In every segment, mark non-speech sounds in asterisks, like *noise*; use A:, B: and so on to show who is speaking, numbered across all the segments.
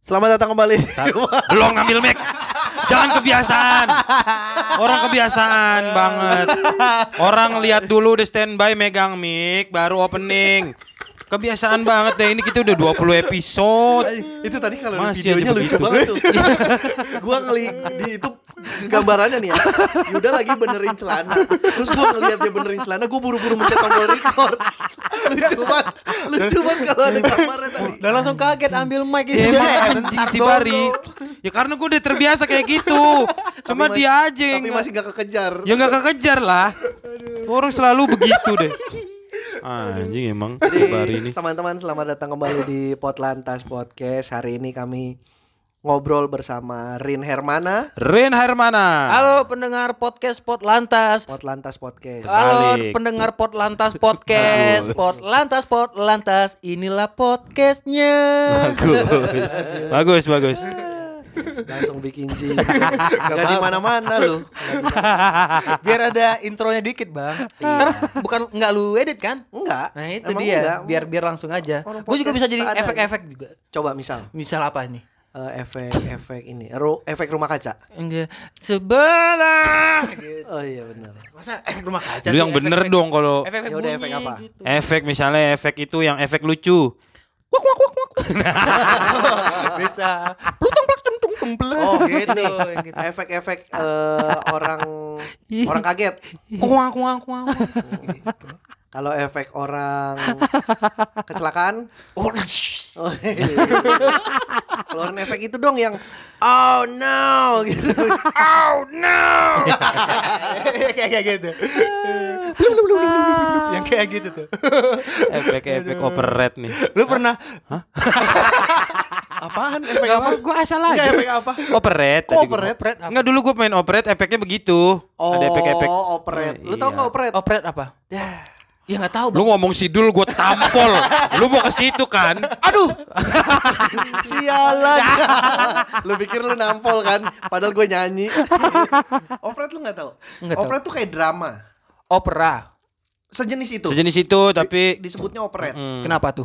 A: Selamat datang kembali. *laughs*
B: Belum ngambil mic. Jangan kebiasaan. Orang kebiasaan banget. Orang lihat dulu udah standby megang mic baru opening. Kebiasaan banget deh ini kita udah 20 episode.
A: Ay, itu tadi kalau di
B: Masih aja
A: videonya lucu
B: begitu.
A: banget
B: *laughs*
A: tuh. gua ngeli di itu gambarannya nih ya. Yuda lagi benerin celana. Terus gua ngeliat dia benerin celana, gua buru-buru mencet tombol record. *laughs* lucu banget. Lucu banget kalau ada gambarnya tadi.
C: Dan langsung kaget
A: Iya.
C: ambil mic itu
B: Ya
C: juga.
B: emang anjing si Bari. Ya karena gue udah terbiasa kayak gitu. Cuma
A: Tapi
B: dia
A: mas-
B: aja yang
A: Tapi masih gak kekejar.
B: ya nggak kekejar lah. Orang selalu begitu deh. Anjing emang si Bari
A: Jadi
B: ini.
A: teman-teman selamat datang kembali di Potlantas Podcast. Hari ini kami ngobrol bersama Rin Hermana,
B: Rin Hermana.
C: Halo pendengar podcast Pot Lantas.
A: Potlantas Podcast.
C: Halo
B: Terbalik.
C: pendengar Pot Lantas podcast. Pot Lantas Pot Lantas inilah
A: *laughs*
C: podcastnya.
B: Bagus. Bagus, bagus.
A: Langsung bikin
B: *laughs*
A: jin. gak di mana-mana lu.
C: Biar ada intronya dikit bang. Ntar bukan nggak lu edit kan?
A: Enggak.
C: Iya. Nah itu
A: Emang
C: dia.
A: enggak?
C: Biar biar langsung aja.
A: Orang
C: Gue juga
A: podcast
C: bisa jadi
A: seadanya.
C: efek-efek juga.
A: Coba misal.
C: Misal apa nih?
A: eh, efek-efek ini, ru- efek rumah kaca.
C: Enggak sebelah.
A: Oh iya benar.
C: Masa efek rumah kaca
B: Lu
C: sih,
B: yang bener
C: efek-efek-
B: dong kalau
C: Efek-efek
A: Ya udah,
C: bunyi
A: efek apa?
C: gitu.
B: efek misalnya efek itu yang efek lucu.
C: Bisa. Plutung plak tung tung tung plak.
A: *laughs* Oh gitu.
C: Gitu, yang gitu.
A: Efek-efek eh, orang orang kaget.
C: Kuang kuang kuang.
A: Kalau efek orang kecelakaan,
C: Oh,
A: *laughs* oh, iya. keluarin efek itu dong yang oh no *laughs* gitu.
C: kayak gitu. Yang kayak gitu tuh.
B: Efek efek overhead nih.
C: Lu pernah *laughs*
A: Apaan efek
B: Gak
A: apa?
B: apa, gue asal
A: Enggak,
B: aja.
A: efek apa?
B: Operet.
C: Kok overhead? Overhead apa?
B: Enggak dulu gue main operet, efeknya begitu.
A: Oh,
B: Ada efek-efek.
A: operet.
B: Eh,
A: Lu tau
B: iya.
A: nggak operet?
C: operet apa?
A: Yah.
C: Ya enggak tahu,
B: Lu
C: Bang.
B: ngomong sidul gue tampol. Lu mau ke situ kan?
A: Aduh, sialan. *laughs* lu pikir lu nampol kan? Padahal gue nyanyi.
C: *laughs*
A: operet lu nggak tahu?
C: Nggak tahu.
A: Operet tuh kayak drama.
C: Opera.
A: Sejenis itu.
B: Sejenis itu tapi
A: Disebutnya operet.
B: Hmm.
C: Kenapa tuh?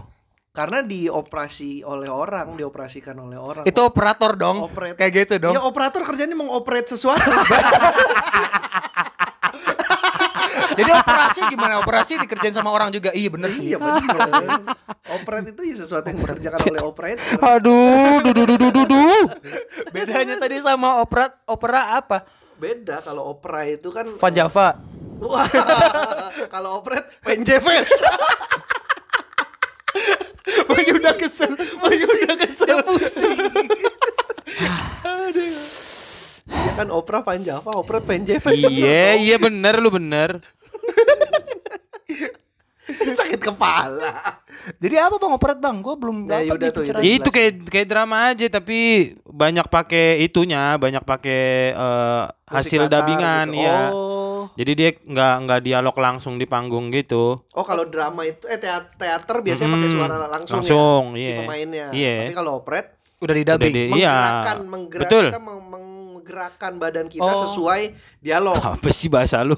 A: Karena dioperasi oleh orang, dioperasikan oleh orang.
C: Itu operator dong.
A: Operet.
C: Kayak gitu dong.
A: Ya operator kerjanya mengoperate sesuatu.
C: Jadi operasi gimana? Operasi dikerjain sama orang juga. Iya *laughs* bener sih.
A: iya benar. operate itu ya sesuatu yang dikerjakan oleh
C: *laughs*
A: operator.
B: Aduh, duh duh duh duh duh, duh.
C: Bedanya tadi sama opera opera apa?
A: Beda kalau opera itu kan
C: Van Java.
A: Wah, *laughs* kalau operet
B: *laughs*
A: PNJP. Bayu udah kesel, Bayu udah kesel. Dia pusing. Aduh. Ya kan opera Panjava, operet PNJP.
B: Iya, iya bener lu bener.
A: *laughs* Sakit kepala.
C: Jadi apa Bang operet Bang? Gue belum
A: Nah,
C: dapat
A: yaudah
C: nih
A: tuh,
C: pencerahan.
A: yaudah.
B: Ya Itu kayak kayak drama aja tapi banyak pakai itunya, banyak pakai eh, hasil
A: Musik latar
B: dabingan
A: gitu.
B: ya.
A: Oh.
B: Jadi dia nggak nggak dialog langsung di panggung gitu.
A: Oh kalau drama itu eh teater, teater biasanya pakai
B: Mm-mm.
A: suara langsung,
B: Hmm. Langsung,
A: ya
B: iya.
A: si pemainnya.
B: Iya.
A: Tapi kalau operet
C: Udah di dubbing.
B: Udah di- Iya,
A: menggerakkan menggerak
B: betul. *laughs*
A: kita meng- menggerakkan badan kita
C: Oh.
A: sesuai dialog.
B: Apa sih bahasa
A: *laughs*
B: lu?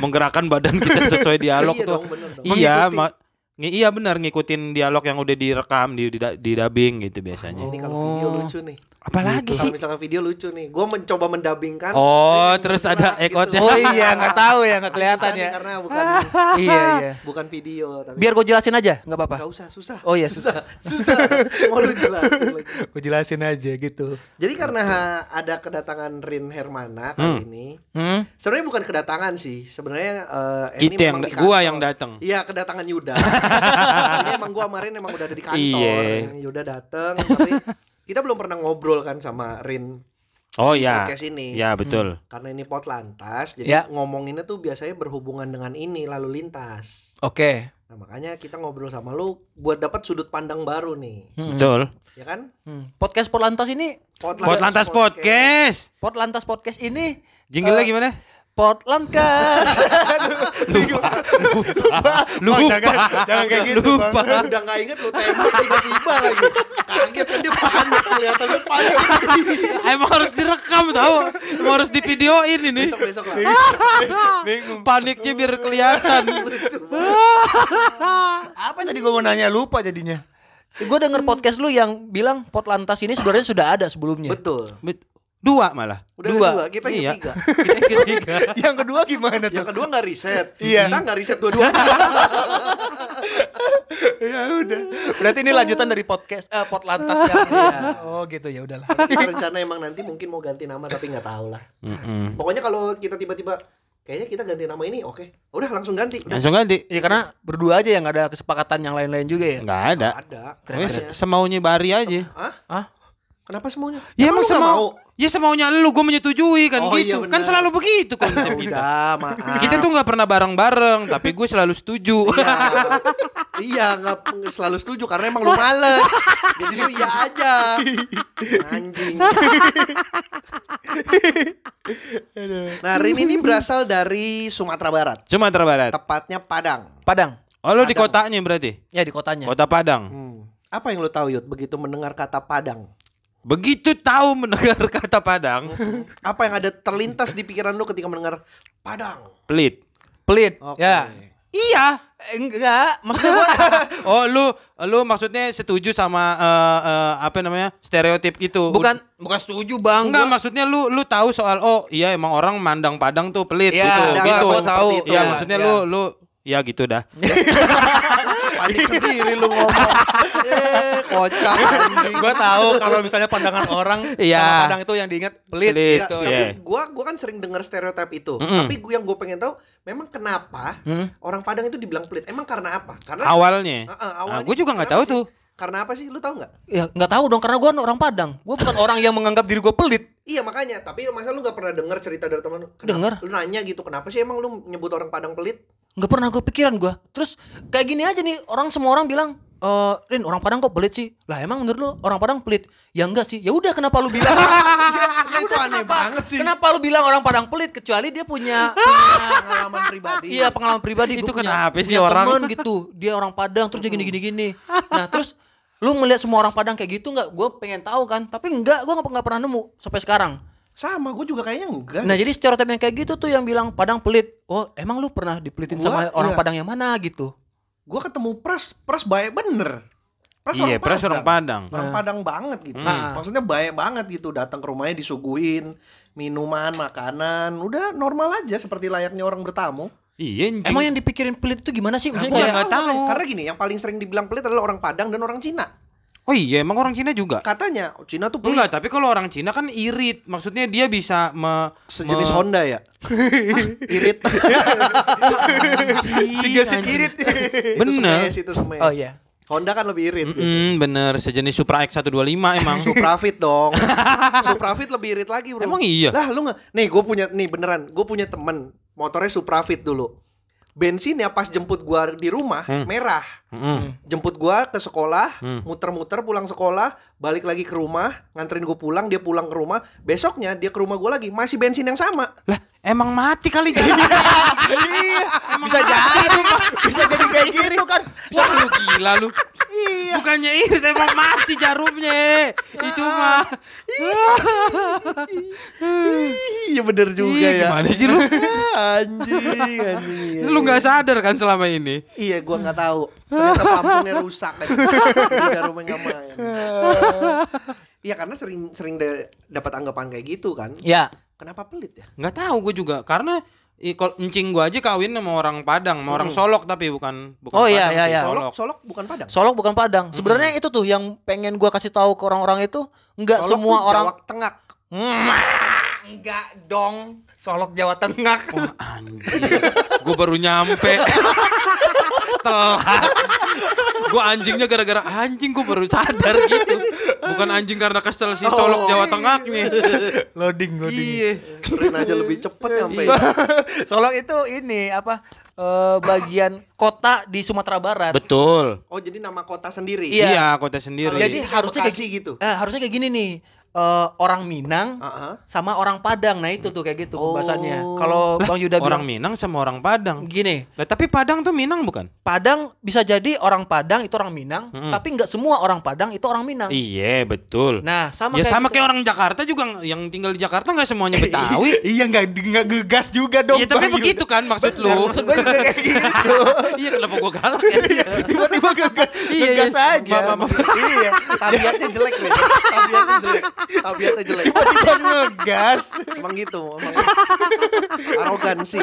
B: Menggerakkan badan kita sesuai dialog
A: Iya
B: tuh.
A: dong, bener dong.
B: Iya,
C: Mengikuti.
B: ma- ngi- iya benar ngikutin dialog yang udah direkam di di, di dubbing gitu biasanya.
A: Nah, Ini kalau video
C: Oh.
A: lucu nih.
B: Apalagi
A: Kalau misalkan video lucu nih, gue mencoba mendabingkan.
B: Oh,
A: Jadi
B: terus
A: menggerak
B: ada ekotnya.
C: Oh iya, nggak tahu ya, nggak
A: Susah
C: kelihatan
A: nih
C: ya.
A: Karena bukan
B: *laughs*
C: Iya iya.
A: bukan video, tapi
C: Biar gue jelasin aja, nggak apa-apa.
A: nggak usah susah.
C: Oh iya,
A: susah, susah. Mau lu jelasin
D: *laughs*
A: lagi.
C: Gue jelasin aja gitu.
A: Jadi karena ha- ada kedatangan Rin Hermana kali ini.
C: Hmm?
A: Sebenarnya bukan kedatangan sih, sebenarnya eh, ini
B: Kita Oh, Gitu yang
A: memang di
B: da- gua
A: kantor.
B: yang datang.
A: Iya kedatangan Yuda. Jadi emang gua kemarin emang udah ada di kantor.
B: Iya.
A: Yuda datang, tapi kita belum pernah ngobrol kan sama Rin
B: Oh iya.
A: podcast ini. Hmm.
B: Ya betul.
A: Karena ini pot lantas,
C: Ya.
A: jadi ngomonginnya tuh biasanya berhubungan dengan ini lalu lintas.
C: Oke.
A: Nah, makanya kita ngobrol sama lu buat dapat sudut pandang baru nih,
B: Betul.
A: ya kan?
C: Hmm. Podcast Pot Lantas ini,
B: Pot lantas podcast.
C: Pot Lantas podcast ini
B: Jingle-nya
C: Eh,
B: gimana?
C: Pot
D: *laughs*
C: Lantas.
B: Lupa. Lupa. Lupa.
D: jangan kayak gitu,
B: Lupa.
A: Udah nggak inget lu tema tiba-tiba lagi. Kaget kan dia panik kelihatannya panik.
B: Emang harus direkam tau Emang harus divideoin ini
A: Besok-besok lah.
B: Paniknya biar kelihatan
A: *laughs* Lucu banget.
C: apa tadi gue mau nanya lupa jadinya. Gue denger podcast lu yang bilang pot lantas ini sebenarnya sudah ada sebelumnya. *laughs*
A: Betul.
B: Bet- Dua malah.
A: Udah
C: Dua.
A: ada dua, kita yang
B: Iya.
A: ketiga.
B: Kita yang ketiga.
D: Yang kedua gimana
A: Yang
D: tuh?
A: kedua nggak riset.
D: Iya.
A: Kita nggak riset dua-duanya.
D: ya udah.
C: Berarti ini lanjutan dari podcast eh, pot lantas yang iya.
D: Oh gitu ya udahlah.
A: Kita *laughs* rencana emang nanti mungkin mau ganti nama tapi nggak tahu lah.
B: Mm-mm.
A: Pokoknya kalau kita tiba-tiba kayaknya kita ganti nama ini, oke. Udah langsung ganti. Udah.
B: Langsung ganti.
C: Ya karena berdua aja yang nggak ada kesepakatan yang lain-lain juga ya.
B: Enggak ada.
A: Nggak ada.
B: Wes,
A: Keren.
B: semaunya Bari aja.
A: Hah?
C: Hah?
A: Kenapa semuanya?
B: Ya
A: Emang
B: emang
A: lu nggak
B: *laughs* semau. Ya semaunya lu gue menyetujui kan
A: Oh, iya
B: gitu.
A: benar.
B: kan selalu begitu
A: *laughs*
B: konsep kita.
A: Udah, maaf.
B: Kita tuh nggak pernah bareng-bareng, tapi gue selalu setuju.
A: Iya. iya, nggak selalu setuju karena emang lu males. Jadi lu iya aja. Anjing. nah, Rin ini berasal dari Sumatera Barat,
B: *laughs* Sumatera Barat.
A: tepatnya Padang.
C: Padang.
B: Oh lu di kotanya berarti?
C: Ya di kotanya.
B: Kota Padang.
A: Hmm. Apa yang lu tahu Yud begitu mendengar kata Padang?
B: Begitu tahu mendengar *laughs* kata Padang,
A: Apa yang ada terlintas di pikiran lu ketika mendengar Padang?
B: pelit.
C: Pelit.
A: Oke.
C: Ya.
B: Iya.
C: Eh, Enggak, maksudnya
D: *laughs*
C: gua
B: Oh lu lu maksudnya setuju sama eh, eh, apa namanya stereotip itu?
C: bukan bukan setuju Bang.
B: Enggak
C: Gua-
B: maksudnya lu lu tahu soal oh iya emang orang mandang Padang tuh pelit
C: Iya,
B: gitu
C: enggak,
B: gitu.
C: gua tahu.
B: Seperti itu.
C: Iya,
B: Iya, maksudnya
C: iya.
B: lu lu ya gitu dah.
A: Panik sendiri lu ngomong. eh, kocak anjing.
D: *laughs* Gua tahu kalau misalnya pandangan orang
B: Iya.
D: sama Padang itu yang diingat pelit.
B: Pelit.
A: Nggak,
B: Gitu,
A: tapi
B: iya.
A: gua gua kan sering dengar stereotip itu.
B: Mm-mm.
A: Tapi gua yang gue pengen tahu memang kenapa
C: Hmm?
A: orang Padang itu dibilang pelit. Emang karena apa? Karena
B: Awalnya.
A: Heeh,
B: Nah,
A: awalnya
B: gua juga nggak
A: kenapa
B: tahu
A: sih?
B: tuh.
A: Karena apa sih? Lu tahu nggak?
C: Ya nggak tahu dong karena gua orang Padang. Gua bukan orang yang menganggap diri gua pelit.
A: Iya makanya, tapi masa lu gak pernah dengar cerita dari teman lu? Kenapa-
C: Dengar.
A: Lu nanya gitu, kenapa sih emang lu nyebut orang Padang
B: *laughs*
A: pelit?
C: nggak pernah gue pikiran gua terus kayak gini aja nih orang semua orang bilang eh Rin orang Padang kok pelit sih lah emang menurut lu orang Padang pelit ya enggak sih ya udah kenapa lu
D: *laughs*
C: bilang ya
A: itu aneh banget sih.
C: kenapa lu bilang orang Padang pelit kecuali dia
D: *laughs*
C: punya
A: Pengalaman pribadi.
C: iya pengalaman pribadi
B: Itu
C: Gua punya-
B: kenapa sih
C: punya
B: orang?
C: temen gitu dia orang Padang terus dia gini gini gini nah terus lu ngelihat semua orang Padang kayak gitu nggak gue pengen tahu kan tapi enggak gue nggak pernah nemu sampai sekarang
A: Sama, gue juga kayaknya enggak.
C: Nah jadi stereotip yang kayak gitu tuh yang bilang Padang pelit. Oh emang lu pernah dipelitin
A: Gua,
C: sama orang
A: iya.
C: Padang yang mana gitu?
A: Gue ketemu Pras, Pras baik bener. Pras
B: Iya, pras orang Padang.
A: Orang Padang banget gitu.
C: Hmm.
A: Maksudnya baik banget gitu datang ke rumahnya disuguhin minuman, makanan, udah normal aja seperti layaknya orang bertamu.
B: Iya, anjing.
C: Emang yang dipikirin pelit itu gimana sih? Maksudnya
B: Gua
C: kayak
B: Iya, nggak tahu.
A: Karena gini, yang paling sering dibilang pelit adalah orang Padang dan orang Cina.
B: Oh iya, emang orang Cina juga.
A: Katanya "Oh, Cina tuh
C: Iya.
A: pelit
B: Enggak, tapi kalau orang Cina kan irit. Maksudnya dia bisa me,
A: sejenis
B: me-
A: Honda
B: *laughs*
A: ya. Irit.
C: *laughs*
B: Anjing, anjing. Bener.
A: Itu semes, itu semes.
C: Oh iya.
A: Honda kan lebih irit. gitu.
B: Mm-mm, Hmm, bener, sejenis Supra X125 emang.
A: Suprafit dong. *laughs* Suprafit lebih irit lagi, Bro.
B: Emang iya?
A: Lah, lu nggak Nih, gue punya nih beneran, gue punya temen motornya Suprafit dulu. Bensinnya pas jemput gua di rumah
B: Hmm.
A: merah.
B: Mm-mm.
A: Jemput gua ke sekolah,
B: Hmm.
A: muter-muter pulang sekolah, balik lagi ke rumah, nganterin gue pulang, dia pulang ke rumah. Besoknya dia ke rumah gua lagi, masih bensin yang sama.
B: Lah, emang mati kali jadi.
C: *laughs* Bisa jadi, bisa jadi kayak gitu kan.
B: Wah, lu gila lu. Iya. Bukannya irit emang mati jarumnya. eh. Itu mah.
A: Iya bener juga
B: Ih,
A: ya.
B: Gimana sih lu?
A: *laughs* anjing, anjing.
B: Lu nggak sadar kan selama ini?
A: Iya, gua nggak tahu. Ternyata pampungnya rusak aja. Jadi rumah nggak main. Iya, karena sering sering da- dapat anggapan kayak gitu kan.
C: Ya.
A: Kenapa pelit ya?
B: Nggak tahu gue juga karena i- kalau encing gua aja kawin sama orang Padang, sama orang Solok tapi bukan bukan
C: Oh, iya,
B: Padang
C: iya,
B: sih,
C: iya.
A: Solok,
B: *laughs* Solok.
A: solok bukan Padang.
C: Solok bukan Padang. Sebenarnya itu tuh yang pengen gua kasih tahu ke orang-orang itu nggak
A: Solok
C: semua
A: tuh
C: orang
A: Jawa Tengah.
D: Enggak dong. Solok Jawa Tengah.
B: Anjir. Gua baru nyampe. Telat. Gua anjingnya gara-gara anjing gua baru sadar gitu. Bukan anjing karena kesel si Solok
A: Oh,
B: Jawa Tengah nih.
D: loading, loading.
B: Iya.
A: Keren aja lebih cepet nyampe.
C: *laughs* Solok itu ini apa eh, bagian kota di Sumatera Barat.
B: Betul.
A: Oh, jadi nama kota sendiri.
C: Iya.
B: Iya, kota sendiri.
C: Jadi
A: Jadi kayak
C: harusnya kayak
A: Bekasi gitu.
C: Eh, harusnya kayak gini nih. eh, orang Minang
B: Uh-huh.
A: Heeh.
C: sama orang Padang. Nah, itu tuh kayak gitu
A: Oh.
C: pembahasannya. Kalau Bang
B: *laughs*
C: Yuda
B: Orang
C: bilang
B: Minang sama orang Padang.
C: gini,
B: Lah tapi Padang tuh Minang bukan?
C: Padang bisa jadi orang Padang itu orang Minang,
B: Mm-mm.
C: tapi nggak semua orang Padang itu orang Minang.
B: Hmm. Iya, betul.
C: Nah, sama
B: ya
C: kayak
B: sama
C: gitu.
B: kayak orang Jakarta juga nggak- yang tinggal di Jakarta nggak semuanya Betawi.
D: iya nggak nggak gegas juga dong.
B: Iya tapi
D: Bang
B: begitu
D: Yuda.
B: kan maksud
C: Bener,
B: lu.
C: Nah, maksud gue juga
B: *laughs*
C: kayak gitu.
B: Iya kenapa gua galak ya?
D: Tiba-tiba gegas.
C: Iya,
D: gegas
C: iya.
D: aja.
C: Mama-
A: Iya, tabiatnya jelek nih. Tabiatnya jelek. Tabiatnya jelek.
D: Tiba-tiba
C: *laughs*
D: ngegas.
A: Emang gitu, emang. Arogansi, arogansi.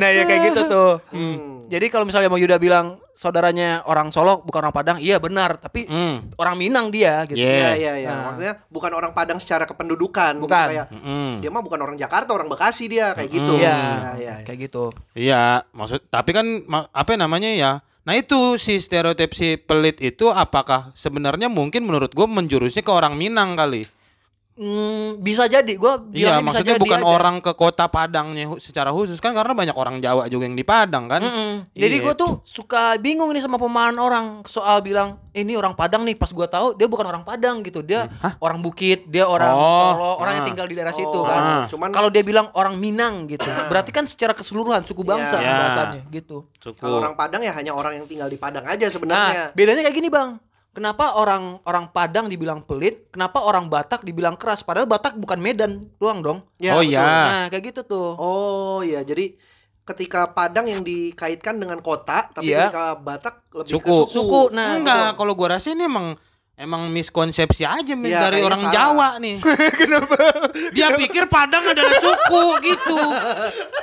D: Nah ya kayak gitu tuh.
A: Hmm.
C: Jadi kalau misalnya Bang Yuda bilang saudaranya orang Solo bukan orang Padang, iya benar, tapi
B: Hmm.
C: orang Minang dia gitu.
A: Iya,
B: Iya.
A: iya, iya.
C: Nah.
A: Maksudnya bukan orang Padang secara kependudukan.
C: Bukan.
A: Kayak,
B: Mm-mm.
A: dia mah bukan orang Jakarta, orang Bekasi dia kayak gitu.
C: Iya,
A: iya, iya.
C: kayak gitu.
B: Iya, maksud tapi kan ma- apa namanya ya? Nah itu si stereotip si pelit itu apakah sebenarnya mungkin menurut gue menjurusnya ke orang Minang kali?
C: Hmm, bisa jadi, gua
B: Iya,
C: bilangnya bisa
B: maksudnya
C: jadi
B: bukan
C: aja.
B: orang ke kota Padangnya hu- secara khusus kan karena banyak orang Jawa juga yang di Padang kan.
C: Mm-mm. Jadi
B: Iya.
C: gue tuh suka bingung nih sama pemahaman orang soal bilang "Eh, ini orang Padang nih pas gua tahu dia bukan orang Padang gitu dia orang Bukit dia
B: Hmm.
C: orang
B: Oh.
C: Solo orang yang
B: Ah.
C: tinggal di daerah
A: Oh,
C: situ kan
A: ah. Cuman-
C: kalau dia bilang orang Minang gitu berarti kan secara keseluruhan suku bangsa
A: Iya.
B: Ah. Iya.
C: bahasanya gitu
A: Kalau orang Padang ya hanya orang yang tinggal di Padang aja
C: nah
A: sebenarnya.
C: bedanya kayak gini bang kenapa orang orang Padang dibilang pelit kenapa orang Batak dibilang keras padahal Batak bukan Medan doang dong
A: Ya,
B: oh
A: betul.
B: iya.
C: nah kayak gitu tuh
A: Oh iya, jadi ketika Padang yang dikaitkan dengan kota, tapi
C: Iya.
A: ketika Batak lebih
B: Suku.
A: ke suku.
C: suku nah
B: Enggak,
C: betul.
B: kalau gua rasa ini emang emang miskonsepsi aja Min,
A: Iya,
B: dari
A: kayaknya
B: orang
A: salah.
C: *laughs*
B: Jawa nih. Dia pikir Padang adalah suku gitu.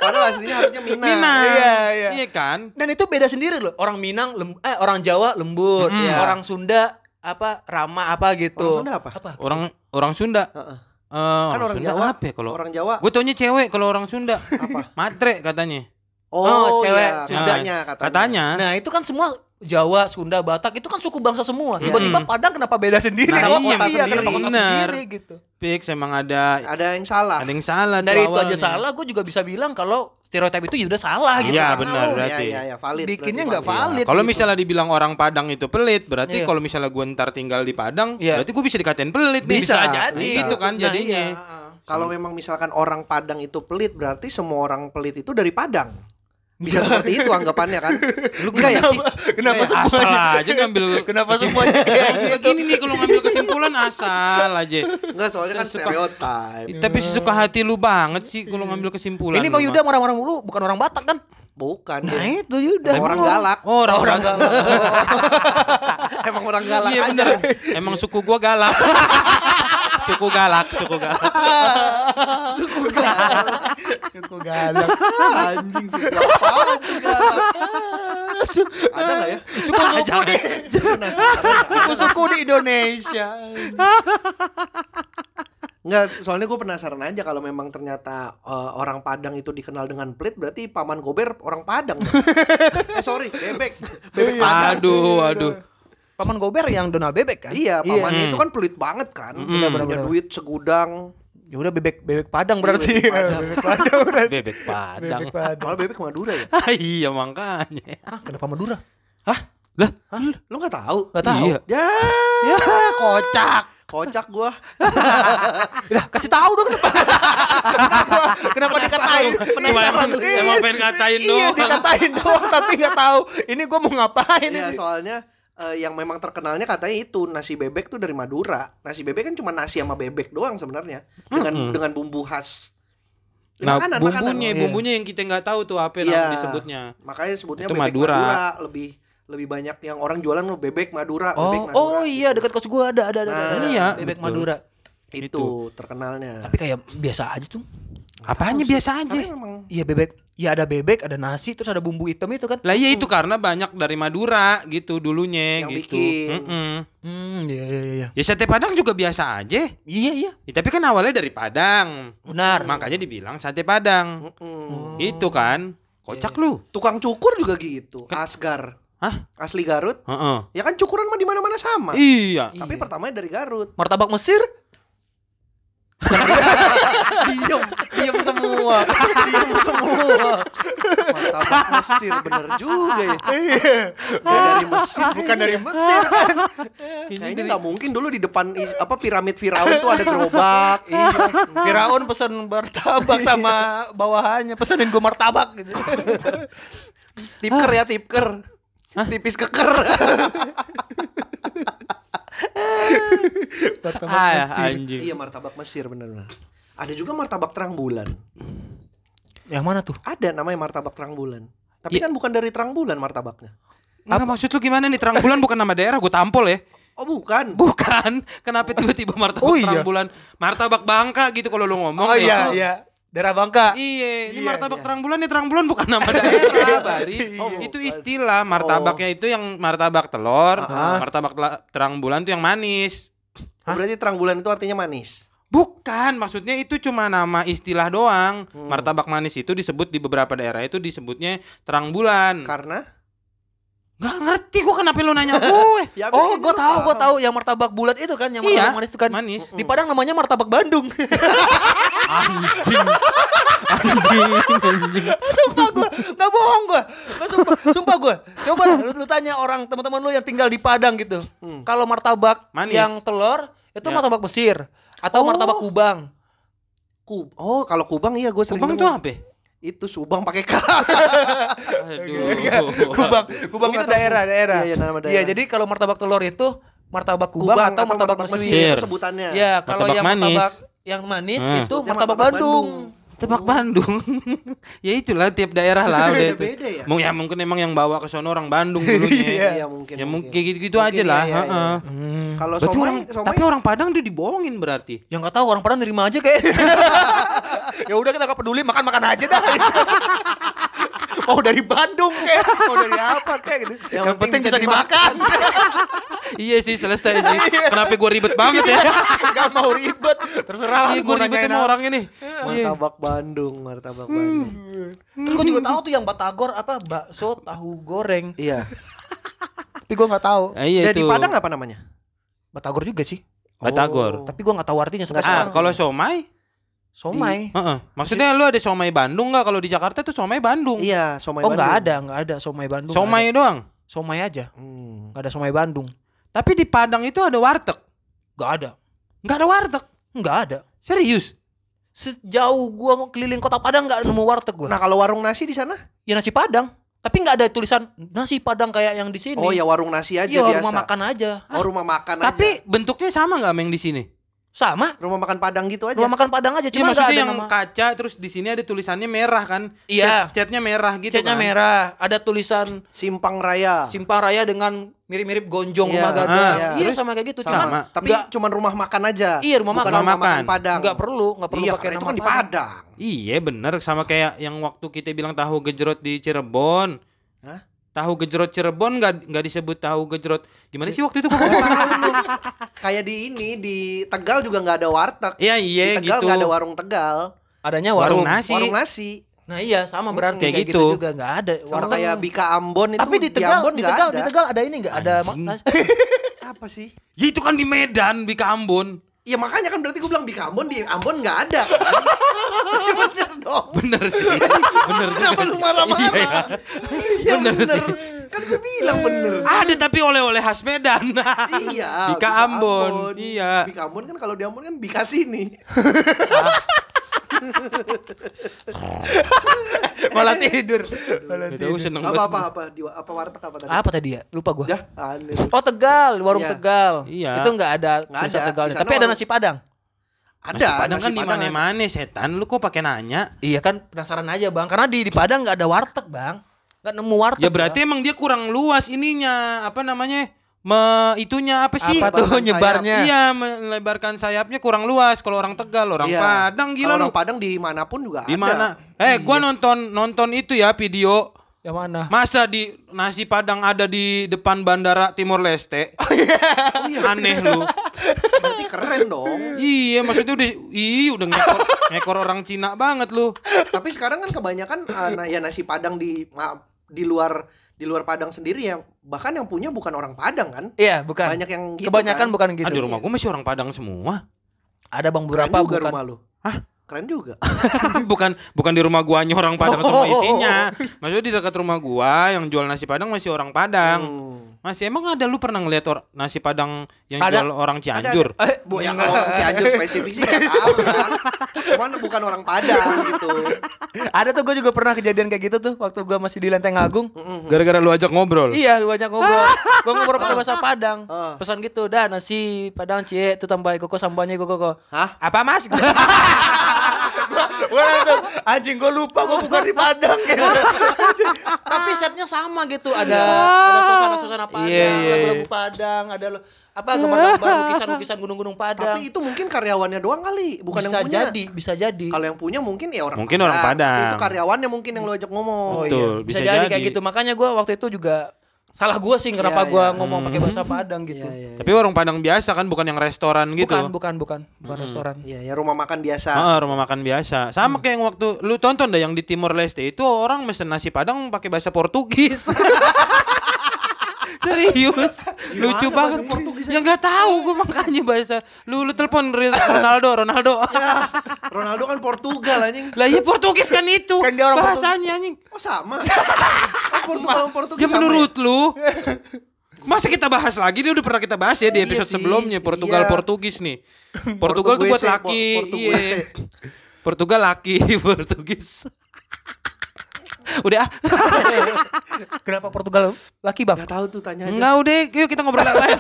A: Padahal aslinya harusnya
C: Nah,
A: Minang.
B: Minang.
D: Iya, iya.
B: kan?
C: Dan itu beda sendiri loh. Orang Minang, lem- eh orang Jawa lembut, ya.
B: Mm.
A: Iya.
C: orang Sunda apa ramah apa gitu.
A: Orang Sunda apa?
B: Orang orang Sunda.
A: Heeh.
B: Eh,
C: Kan
B: orang,
A: orang
B: Sunda
A: Jawa.
B: apa ya kalau
A: Orang Jawa.
B: Gue taunya cewek kalau orang Sunda.
A: Apa?
B: Matre katanya.
A: Oh,
C: *laughs* Oh, cewek.
A: iya,
C: Sunda.
A: Sundanya katanya.
B: Katanya.
C: Nah, itu kan semua Jawa, Sunda, Batak itu kan suku bangsa semua.
B: Mm.
C: Tiba-tiba Padang kenapa beda sendiri?
B: Nah, iya,
C: Kenapa kota
A: iya,
C: kenapa
A: sendiri.
C: kota
B: Bener.
C: sendiri gitu.
B: Fix emang ada
A: Ada yang salah.
B: ada yang salah tuh
C: Ah. Dari itu aja
B: awalnya.
C: salah, gue juga bisa bilang kalau stereotip itu ya udah salah gitu.
B: Iya,
C: Karena
B: benar,
C: lo
B: berarti.
A: Iya, iya, valid.
C: Bikinnya
A: berarti
C: nggak valid.
B: Kalau
C: gitu.
B: misalnya dibilang orang Padang itu pelit, berarti
C: Iya.
B: kalau misalnya gue ntar tinggal di Padang,
C: Iya.
B: berarti gue bisa dikatain pelit nih.
C: bisa, jadi
A: bisa.
B: Gitu kan
C: Nah,
B: jadinya.
C: iya.
A: Kalau memang misalkan orang Padang itu pelit, berarti semua orang pelit itu dari Padang. Bisa seperti itu anggapannya kan? Lu enggak ya?
D: Kenapa
B: Kayak
D: semua?
B: asal aja ngambil
D: Kenapa semuanya
B: *laughs*
D: kayak gitu?
B: Gini nih kalau ngambil kesimpulan asal aja.
A: Enggak, soalnya kan
B: Suka-
A: stereotip.
B: Tapi sesuka hati lu banget sih kalau ngambil kesimpulan.
C: Ini Bang
B: lu,
C: Yuda
B: Mas.
C: orang-orang mulu bukan orang Batak kan?
A: Bukan.
C: Nah,
A: dia.
C: itu Yuda.
A: Emang orang
C: Emang
A: galak.
B: Oh, orang, orang
C: *laughs*
A: Emang orang galak
B: Iya,
A: aja.
B: bener. Emang suku gua galak. *laughs* suku galak, suku galak.
A: Suku galak.
D: Suku galak.
A: Anjing suku apaan tuh galak. Ada enggak ya?
C: Suku-suku di suku-suku di Indonesia.
A: Enggak, soalnya gue penasaran aja kalau memang ternyata eh, orang Padang itu dikenal dengan pelit berarti paman Gober orang Padang. eh sorry, bebek. Bebek Padang.
B: Aduh, aduh.
C: Paman Gober yang Donald Bebek kan?
A: Iya, pamannya
B: Hmm.
A: itu kan pelit banget kan.
B: Mm.
A: Udah
C: Benar,
A: punya
C: benar,
A: duit segudang.
C: Ya udah bebek Iya, bebek Padang berarti.
A: Bebek Padang.
B: Bebek Padang.
A: Malah bebek Madura ya.
B: *laughs* iya makanya.
C: ah, kenapa Madura?
B: Lah,
A: Lu nggak tahu?
C: Nggak tahu.
B: Iya.
A: Ya,
B: ya kocak.
A: kocak gua.
C: Lah, Ah, kasih tahu dong kenapa. kenapa dikatain?
B: Cuma emang, emang pengen ngatain
C: Iya,
B: doang.
C: dikatain doang tapi nggak tahu ini gua mau ngapain
A: Iya,
C: ini.
A: soalnya eh, yang memang terkenalnya katanya itu nasi bebek tuh dari Madura. Nasi bebek kan cuma nasi sama bebek doang sebenarnya dengan
B: Mm-mm.
A: dengan bumbu khas.
B: Nah,
A: Makanan, makanan.
B: bumbunya,
C: Iya.
B: bumbunya yang kita nggak tahu tuh
A: Iya.
B: apa namanya disebutnya.
A: Makanya sebutnya
B: Itu
A: bebek
B: Madura.
A: Madura. lebih lebih banyak yang orang jualan lo bebek Madura, bebek
C: Oh,
A: Madura.
C: oh iya dekat kos gua ada ada ya? Nah. ada.
A: Nah,
C: ada, ada.
B: iya,
C: bebek
B: betul.
C: Madura.
A: itu,
B: Itu.
A: terkenalnya.
C: Tapi kayak biasa aja tuh.
B: Apanya biasa
A: Tapi
B: aja.
A: memang
C: Iya bebek, ya ada bebek, ada nasi, terus ada bumbu hitam itu kan.
B: Lah iya itu karena banyak dari Madura gitu dulunya
A: Yang
B: gitu.
A: bikin.
B: Mm-mm.
C: Hmm, iya iya iya.
B: Ya sate Padang juga biasa aja.
C: Iya iya.
B: Ya, tapi kan awalnya dari Padang.
C: Benar.
B: Makanya dibilang sate Padang.
A: Mm-mm.
C: Oh.
B: Itu kan. Kocak lu.
A: tukang cukur juga gitu. Asgar.
B: Hah?
A: Asli Garut.
B: Heeh.
A: Ya kan cukuran mah di mana-mana sama.
B: Iya.
A: Tapi
C: Iya.
A: pertamanya dari Garut.
C: Martabak Mesir?
A: diem, diem semua. diem semua. martabak Mesir bener juga ya. Dia dari Mesir
D: Bukan dari Mesir kan.
A: *laughs* Kayaknya nggak mungkin dulu di depan i- apa piramid Firaun tuh ada
C: *laughs*
A: gerobak.
C: Firaun Iya. pesen martabak sama bawahannya pesenin gue martabak gitu.
A: Tipker ya tipker. Tipis keker.
B: Ah, anjing.
A: *laughs* iya martabak Mesir bener-bener. Ada juga martabak terang bulan.
C: Yang mana tuh?
A: Ada namanya martabak terang bulan. Tapi kan bukan dari terang bulan martabaknya.
B: Enggak maksud lu gimana nih terang bulan bukan nama daerah gue tampol ya
A: Oh bukan.
B: bukan kenapa tiba-tiba martabak
C: Oh,
B: terang
C: iya.
B: bulan martabak bangka gitu kalau lu ngomong
D: Oh iya
B: ya.
D: iya. Daerah Bangka.
B: Iya, ini
D: Iya,
B: martabak
D: iya.
B: terang bulan ya terang bulan bukan nama *laughs* daerah, Bari. Oh.
A: Oh,
B: itu
A: bukan.
B: istilah martabaknya itu yang martabak telur, eh,
A: Ah.
B: martabak tela- terang bulan tuh yang manis.
A: Berarti terang bulan itu artinya manis.
B: Bukan, maksudnya itu cuma nama istilah doang. Martabak manis itu disebut di beberapa daerah itu disebutnya terang bulan.
A: Karena
B: Gak ngerti gua kenapa lu nanya *laughs* gue.
A: Ya,
C: Oh,
A: berarti
C: gue
A: lu
C: tahu, gue tahu yang martabak bulat itu kan, yang
B: Iya,
C: martabak manis itu kan.
B: manis.
C: Di Padang namanya martabak Bandung.
B: *laughs* Anjing. Anjing. *laughs* anjing.
C: sumpah gue, nggak bohong gue. Gua sumpah, sumpah gue. Coba dah, lu, lu tanya orang teman-teman lu yang tinggal di Padang gitu. Kalau martabak
B: Hmm. Manis.
C: yang telur itu
B: Ya.
C: martabak Mesir atau martabak Kubang.
A: Ku- oh kalau kubang iya gue sering
B: Kubang
A: nemu.
B: tuh apa? ya?
A: itu subang pakai k
B: Aduh.
C: Kubang, Kubang
A: Gua
C: itu
A: nggak tahu.
C: daerah, daerah.
A: Iya, iya, nama daerah.
C: Iya, jadi kalau martabak telur itu martabak Kubang, atau, martabak, Mesir.
B: Mesir.
A: itu sebutannya
C: Iya, kalau
B: Martabak
C: yang
B: manis.
C: martabak yang manis
B: Hmm.
C: itu
A: Sebutnya martabak
C: martabak, Bandung.
B: Tebak Bandung. *laughs* ya itulah tiap daerah lah udah itu.
A: Beda-beda ya?
B: Mung- ya mungkin emang yang bawa ke sono orang Bandung dulunya.
A: *laughs* Iya, iya, mungkin,
B: Ya
A: mungkin.
B: mungkin gitu-gitu
A: Mungkin,
B: aja lah.
A: iya, iya,
B: heeh.
A: iya.
C: Hmm.
A: Kalau
B: Berarti
A: somai-
B: orang,
A: somai-
B: tapi orang Padang udah dibohongin
A: *laughs*
B: berarti.
C: Yang Ya, nggak tahu orang Padang nerima aja kayak. *laughs* ya udah kita nggak peduli makan makan aja *laughs* dah. mau dari Bandung kayak, mau dari apa kayak gitu. Yang,
A: penting
C: penting
A: bisa
C: bisa dimakan. *laughs*
B: iya sih selesai sih.
A: Iya.
B: Kenapa gue ribet banget
A: *laughs*
B: ya?
C: Gak mau ribet. Terserah lah
B: Iya gue ribetin orang ini. Iya.
A: martabak Bandung martabak Bandung
C: Terus gue juga tahu tuh yang Batagor apa bakso tahu goreng.
A: iya
C: Tapi gue nggak tahu.
B: Nah, iya
A: jadi
B: itu.
A: Padang apa namanya
C: Batagor juga sih.
B: Batagor.
A: Oh.
C: Tapi gue nggak tahu artinya sampai
B: Ah,
C: sekarang.
B: kalau somai,
C: somai.
B: heeh. maksudnya lu ada somai Bandung nggak? Kalau di Jakarta tuh somai Bandung.
A: iya somai
C: Oh nggak
A: Bandung.
C: ada, nggak ada somai Bandung. nggak
B: somai
C: ada.
B: doang.
C: somai aja.
A: Hmm.
C: Nggak ada somai Bandung.
B: Tapi di Padang itu ada warteg.
C: Nggak ada.
B: Nggak ada warteg.
C: Nggak ada.
B: Serius?
C: Sejauh gua mau keliling kota Padang nggak nemu warteg gua.
A: nah kalau warung nasi di sana
C: ya nasi Padang, tapi nggak ada tulisan nasi Padang kayak yang di sini.
A: oh ya warung nasi aja
C: Iya,
A: biasa
C: rumah makan aja.
A: oh rumah makan
B: Tapi
A: aja.
B: bentuknya sama nggak sama yang di sini?
C: Sama,
A: rumah makan Padang gitu aja
C: rumah makan Padang aja,
B: Iya
C: cuma nggak
B: maksudnya
C: ada
B: yang
C: nama.
B: kaca terus di sini ada tulisannya merah kan?
C: Iya.
B: Cat- Catnya merah gitu kan?
C: Catnya merah, ada tulisan
A: simpang raya
C: Simpang Raya dengan mirip-mirip
A: Ah.
C: gonjong
A: Iya,
C: rumah
B: ah,
C: gadang.
A: iya.
C: Iya,
A: Terus?
C: sama kayak gitu,
B: Sama.
C: cuman
A: tapi
C: nggak-
A: cuman rumah makan aja
C: Iya, rumah
A: Bukan
C: makan.
A: rumah makan
B: Makan.
A: Padang
C: nggak perlu, nggak perlu
A: iya
C: pakai
A: karena itu
C: nama
A: kan di
C: Padang.
A: Padang
B: Iya bener sama kayak yang waktu kita bilang tahu gejrot di Cirebon.
A: Hah?
B: Tahu gejrot Cirebon nggak nggak disebut tahu gejrot. Gimana sih waktu itu kok?
A: *laughs* kayak di ini di Tegal juga nggak ada warteg
B: Iya
A: di
B: iya
A: Tegal
B: gitu.
A: nggak ada warung Tegal
C: Adanya warung.
B: Warung nasi.
A: warung nasi
C: Nah, iya, sama berarti
B: Kayak
C: kayak, gitu.
B: gitu.
C: juga nggak ada
A: Sama
C: warteg.
A: kayak Bika Ambon itu
C: tapi di Tegal,
A: Ambon
C: di
A: nggak
C: Tegal,
A: ada.
C: di Tegal ada ini nggak ada
A: *laughs*
B: Anjing.
C: ma- nasi-
A: apa sih?
B: Ya itu kan di Medan, di Ambon.
A: Ya makanya kan berarti gue bilang Bika Ambon di Ambon nggak
B: *laughs*
A: ada. Kan? Ya bener dong.
B: Bener
A: *laughs*
B: sih. bener juga.
A: Kenapa lu marah-marah?
B: Iya,
A: Iya
B: Bener
A: bener.
B: sih.
A: Kan gue bilang bener.
B: Ada tapi oleh-oleh khas Medan.
A: Iya.
B: Bika Ambon. Iya.
A: Bika Ambon kan kalau di Ambon kan Bika sini.
D: Malah tidur. Malah
B: Gak
D: tidur.
B: tahu seneng
A: apa
B: banget.
A: apa apa di apa warteg apa tadi?
C: apa tadi ya? Lupa gua.
A: Ya, aneh.
C: Oh Tegal, warung
A: Iya.
C: Tegal.
B: Iya.
C: Itu nggak ada
A: Nggak
C: tulisan
A: ada.
C: Tegalnya.
A: Di sana
C: Tapi ada
A: warung-
C: nasi Padang.
A: Ada.
B: Nasi Padang kan
A: nasi
B: di mana-mana setan. Lu kok pakai nanya?
C: Iya kan penasaran aja bang, karena di di Padang nggak ada warteg bang, nggak nemu warteg.
B: Ya berarti emang dia kurang luas ininya, apa namanya? Me, itunya apa sih?
A: Apa tuh
B: Lebarkan sayap.
A: nyebarnya?
B: Iya, melebarkan sayapnya kurang luas. Kalau orang Tegal, orang
A: Iya.
B: Padang gila
A: Kalau
B: lu.
A: Orang Padang dimanapun juga ada. Iya.
B: Di mana? Eh, gua nonton nonton itu ya video.
C: yang mana?
B: Masa di nasi Padang ada di depan bandara Timor Leste? *laughs* Aneh lu.
A: Oh iya, Berarti keren dong.
B: Iya, maksudnya udah iya udah ngekor, ngekor orang Cina banget lu.
A: Tapi sekarang kan kebanyakan eh, na- ya nasi Padang di ma- di luar di luar Padang sendiri ya. Bahkan yang punya bukan orang Padang kan.
C: Iya bukan.
A: Banyak yang gitu
C: Kebanyakan
A: kan.
C: bukan gitu.
B: Aduh, rumah gua masih orang Padang semua.
C: Ada bang
A: Keren
C: beberapa
A: juga
C: bukan.
A: rumah lu.
B: Hah?
A: keren juga
B: *laughs* bukan bukan di rumah guanya orang Padang
C: *laughs* Oh.
B: semua isinya. Maksudnya di dekat rumah gua yang jual nasi Padang masih orang Padang.
A: Hmm.
B: Masih emang ada lu pernah ngeliat or- nasi Padang yang
C: Ada.
B: jual orang Cianjur?
C: Eh,
A: Bu, ya kalau orang Cianjur spesifik sih nggak tahu kan.
B: *laughs*
A: Cuman bukan orang Padang gitu.
C: ada tuh gue juga pernah kejadian kayak gitu tuh waktu gue masih di Lenteng Agung.
B: Gara-gara lu ajak ngobrol.
C: Iya, banyak ngobrol. Gue ngobrol pakai bahasa Padang.
A: Ah.
C: Pesan gitu, dah nasi Padang cie, itu tambah koko sambanya koko koko.
A: Hah?
C: Apa mas?
D: Gue langsung anjing gue lupa gue bukan di Padang ya.
C: *laughs* Tapi setnya sama gitu, ada ada suasana-suasana Padang,
B: Iya, iya,
C: lagu-lagu Padang, ada lo- apa gambar-gambar lukisan-lukisan gunung-gunung Padang.
A: Tapi itu mungkin karyawannya doang kali, bukan
C: bisa
A: yang punya.
C: jadi, bisa jadi.
A: Kalau yang punya mungkin ya orang
B: Mungkin orang Padang.
A: Tapi Itu karyawannya mungkin yang lo ajak ngomong.
C: Oh,
B: Betul,
C: iya. bisa,
B: bisa
C: jadi, kayak
B: jadi.
C: gitu. Makanya gue waktu itu juga salah gue sih
A: Iya,
C: kenapa gue
A: iya.
C: ngomong pakai bahasa Padang gitu.
A: Iya, iya.
B: Tapi warung Padang biasa kan bukan yang restoran gitu.
C: Bukan, bukan, bukan, bukan restoran.
A: Iya, ya rumah makan biasa.
B: Ah, rumah makan biasa. Sama
C: Hmm.
B: kayak yang waktu lu tonton dah yang di Timor Leste itu orang mesen nasi Padang pakai bahasa
C: *laughs*
B: Portugis. Serius, lucu
A: bahasa
B: banget.
A: Portugis
B: Ya nggak tahu gue makanya bahasa. Lu lu telepon Re- Ronaldo, Ronaldo.
A: Ya, Ronaldo kan Portugal anjing.
B: Lah iya Portugis kan itu.
D: Kan dia orang
B: bahasanya anjing.
A: Oh sama. *laughs* Oh, Portugal sama Portugis.
B: Ya
A: sama
B: menurut lu Masa kita bahas lagi? Dia udah pernah kita bahas ya di
A: Iya
B: episode
A: sih,
B: sebelumnya Portugal
A: iya.
B: Portugis nih. Portugal tuh buat
A: Portuguese, Por-
B: laki, iya.
A: Portuguese.
B: Portugal laki, *laughs* Portugis. udah ah.
C: Ah, Kenapa Portugal laki bang?
A: Gak tahu tuh tanya aja.
B: Enggak udah, yuk kita ngobrol yang lain.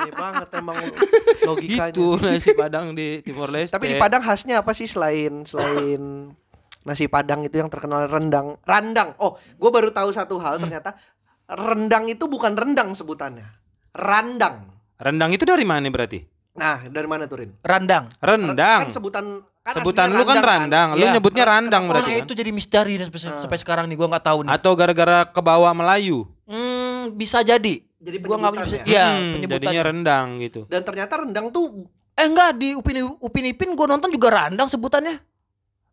A: Gede banget emang *laughs* logikanya.
B: gitu nasi Padang di Timor Leste.
A: Tapi di Padang khasnya apa sih selain selain nasi Padang itu yang terkenal rendang? Randang. Oh, gue baru tahu satu hal ternyata rendang itu bukan rendang sebutannya. Randang.
B: rendang itu dari mana berarti?
A: Nah, dari mana tuh Rin?
C: Randang.
B: Rendang.
A: Kan sebutan kan
B: Sebutan
A: aslinya
B: lu kan randang, lu
C: Iya.
B: nyebutnya randang
C: Nah,
B: berarti kan?
C: itu jadi misteri dan sampai, sampai sekarang nih gue nggak tahu nih.
B: Atau gara-gara kebawa Melayu.
C: Hmm, bisa jadi.
A: Jadi
C: Gua nggak punya
A: penyebutan
C: Iya,
B: Hmm,
C: penyebutannya.
B: jadinya rendang gitu.
A: Dan ternyata rendang tuh
C: Eh enggak di Upin Upin Ipin gue nonton juga randang sebutannya.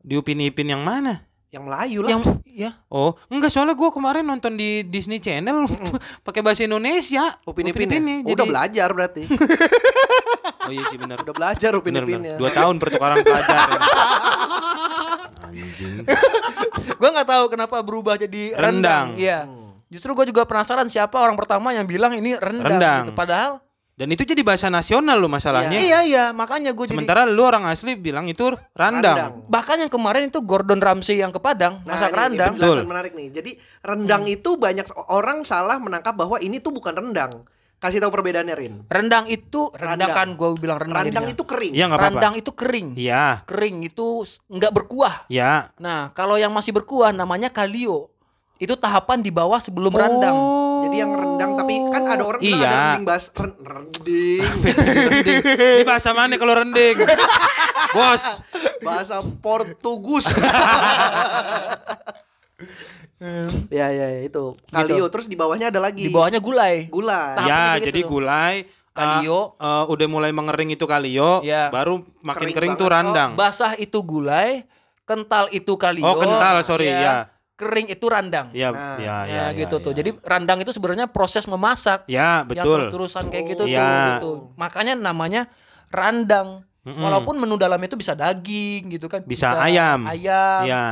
B: Di Upin Ipin yang mana?
A: yang Melayu lah.
C: Yang ya.
B: Oh, enggak soalnya gua kemarin nonton di Disney Channel *laughs* pakai bahasa Indonesia.
A: Upin Ipin.
B: Ipin
A: ya?
B: nih,
A: Udah
B: jadi-
A: belajar berarti.
B: Oh iya sih
A: *laughs*
B: benar.
A: Udah belajar Upin
B: Benar
A: Ipin
B: benar.
A: ya.
B: Dua tahun
A: *laughs*
B: pertukaran pelajar. Anjing.
C: gue nggak tahu kenapa berubah jadi rendang.
B: Rendang.
C: Iya. Justru gue juga penasaran siapa orang pertama yang bilang ini rendang.
B: Rendang.
C: Gitu. Padahal.
B: Dan itu jadi bahasa nasional lo masalahnya.
C: Iya iya makanya gue jadi.
B: Sementara lu orang asli bilang itu
A: Rendang.
B: randang.
C: Bahkan yang kemarin itu Gordon Ramsay yang ke Padang
A: Nah, ini-
C: masak
A: ini
C: rendang.
A: penjelasan
B: Betul.
A: menarik nih. Jadi rendang
C: Hmm.
A: itu banyak s- orang salah menangkap bahwa ini tuh bukan rendang. Kasih tahu perbedaannya Rin.
C: Rendang itu
A: Rendang.
C: rendang, kan gue bilang rendang.
A: Rendang
C: jadinya.
A: itu kering.
B: Iya enggak apa-apa.
C: rendang itu kering.
B: Iya.
C: Kering itu s- nggak berkuah.
B: Ya.
C: Nah kalau yang masih berkuah namanya kalio. Itu tahapan di bawah sebelum Oh. rendang.
B: Oh,
A: Jadi yang rendang tapi kan ada orang bilang
B: Iya.
A: ada rending bahas ren- rending
B: *laughs* rending. Ini bahasa mana kalau
A: *laughs*
B: rending? Bos,
A: bahasa
B: *laughs*
A: Portugus. *laughs* ya ya ya, itu
B: Gitu.
A: kalio terus di bawahnya ada lagi
C: Di
B: iya.
C: bawahnya gulai.
A: gulai.
C: Tahapannya
B: Ya,
C: kayak
B: jadi
C: gitu.
B: gulai uh,
C: Kalio.
B: uh, udah mulai mengering itu kalio,
C: Ya.
B: baru makin
A: Kering
B: kering, tuh
A: banget.
B: randang.
C: Oh, basah itu gulai, kental itu kalio.
B: Ah. Oh, kental, sorry, ya.
C: Kering itu randang.
B: ya,
A: Nah,
B: ya,
C: Nah,
B: ya, ya,
C: gitu
B: ya.
C: tuh. Jadi randang itu sebenarnya proses memasak.
B: ya
C: Yang
B: betul.
C: terus-terusan kayak gitu
B: Iya.
C: tuh gitu. Makanya namanya randang.
B: Mm-mm.
C: Walaupun menu dalamnya itu bisa daging gitu kan.
B: Bisa ayam.
C: Ayam.
B: ya,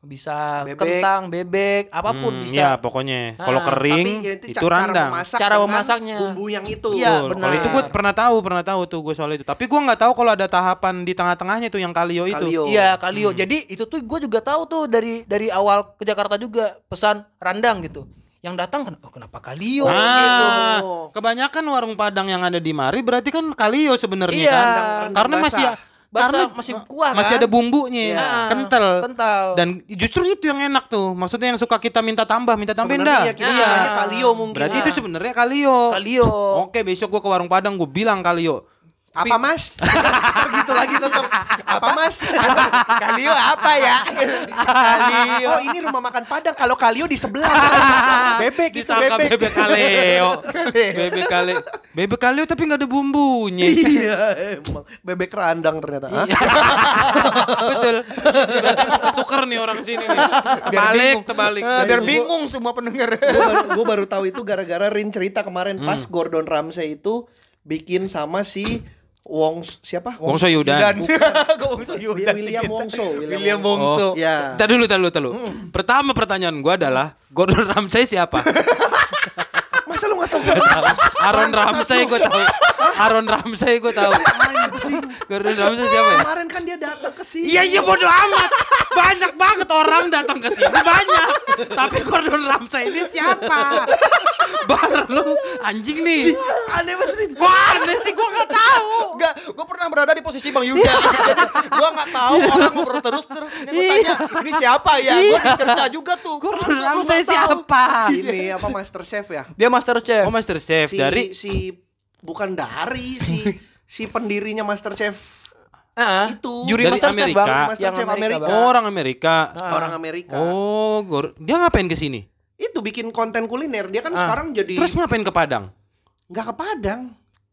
C: Bisa
A: Bebek.
C: kentang, bebek, apapun
B: hmm,
C: bisa.
B: ya pokoknya
C: Ah,
B: kalau kering
A: Tapi ya,
B: itu,
A: ca- cara
B: randang.
A: memasak
C: Cara
A: dengan
C: memasaknya.
A: Bumbu yang itu.
C: Iya,
B: Betul. Kalau itu gue
C: benar.
B: pernah tahu, pernah tahu tuh gue soal itu. Tapi gue nggak tahu kalau ada tahapan di tengah-tengahnya tuh yang kalio itu.
A: Kalio.
C: Iya kalio.
D: hmm.
C: Jadi itu tuh gue juga tahu tuh dari dari awal ke Jakarta juga pesan randang gitu. Yang datang kan, oh kenapa kalio?
D: Ah,
C: gitu.
B: Nah, kebanyakan warung Padang yang ada di Mari berarti kan kalio sebenarnya
C: Iya.
B: kan.
A: Rendang-
B: Karena
A: rendang
B: masih
A: basah.
C: Basah,
B: karena
C: masih kuah
B: masih
C: kan?
B: ada bumbunya,
C: Iya.
B: kental.
C: Kental.
B: Dan justru itu yang enak tuh. Maksudnya yang suka kita minta tambah, minta tambahin
A: Sebenarnya
B: dah.
A: ya, kita
C: Iya.
A: namanya kalio mungkin.
B: Berarti itu sebenarnya kalio.
C: Kalio.
D: Oh,
B: Oke, besok gua ke warung Padang gua bilang kalio.
A: apa mas? gitu lagi tetap apa mas?
D: Kalio apa ya?
A: oh ini rumah makan Padang kalau kalio di sebelah bebek itu
B: Disangka
A: bebek.
B: bebek
A: *laughs*
B: kaleo. bebek kaleo. Bebek kaleo tapi nggak ada bumbunya.
A: iya emang bebek randang ternyata. Hah?
B: Betul. Berarti mau ketuker nih orang sini nih. Terbalik, terbalik.
D: Eh, Biar bingung semua pendengar. *laughs*
A: gue baru, gua baru tahu itu gara-gara Rin cerita kemarin pas Gordon Ramsay itu bikin sama si Wongs siapa?
B: Wongso Yudan.
D: Dan Kok Wongso Yudan sih
A: William
D: kita?
A: Wongso, William
D: William
A: Wongso.
D: Wongso.
B: Oh, Hmm.
A: Ya.
B: Tar dulu, tar dulu, tar dulu. Pertama pertanyaan gua adalah Gordon Ramsay siapa?
A: Masa lu gak tau?
B: Aaron Ramsay gua tahu. Aaron Ramsay gua tahu. Gordon Ramsay siapa ya?
A: Kemarin kan dia datang ke sini.
B: Iya iya bodo amat. Banyak banget orang datang ke sini banyak. Tapi Gordon Ramsay ini siapa? Bar lu anjing nih.
A: Aneh banget. Rin.
B: Gua aneh sih gua nggak tahu.
D: Enggak, gue pernah berada di posisi Bang
C: *laughs*
D: Yuda. Jadi gue nggak tahu orang ngobrol terus terus ini gue
C: Iya.
D: tanya ini siapa ya? Gue cerita juga tuh.
B: Gordon
D: Masa lu
B: Ramsay
D: nggak tahu?
B: siapa? *laughs*
A: Ini apa Master Chef ya?
C: Dia master chef.
B: Iya. Oh Master Chef
A: Si,
B: dari
A: si bukan dari
B: *laughs*
A: si si pendirinya Master Chef itu
C: Juri
B: Dari
C: master chef
B: Amerika.
C: bang.
A: Master
C: yang
A: Chef
C: Amerika.
A: Amerika.
C: Bang.
D: Oh,
B: orang Amerika.
A: orang Amerika.
B: Ah. Oh, Gor- dia ngapain ke sini?
A: Itu bikin konten kuliner. Dia kan
B: Ah.
A: sekarang jadi
B: Terus ngapain ke Padang?
A: nggak ke Padang.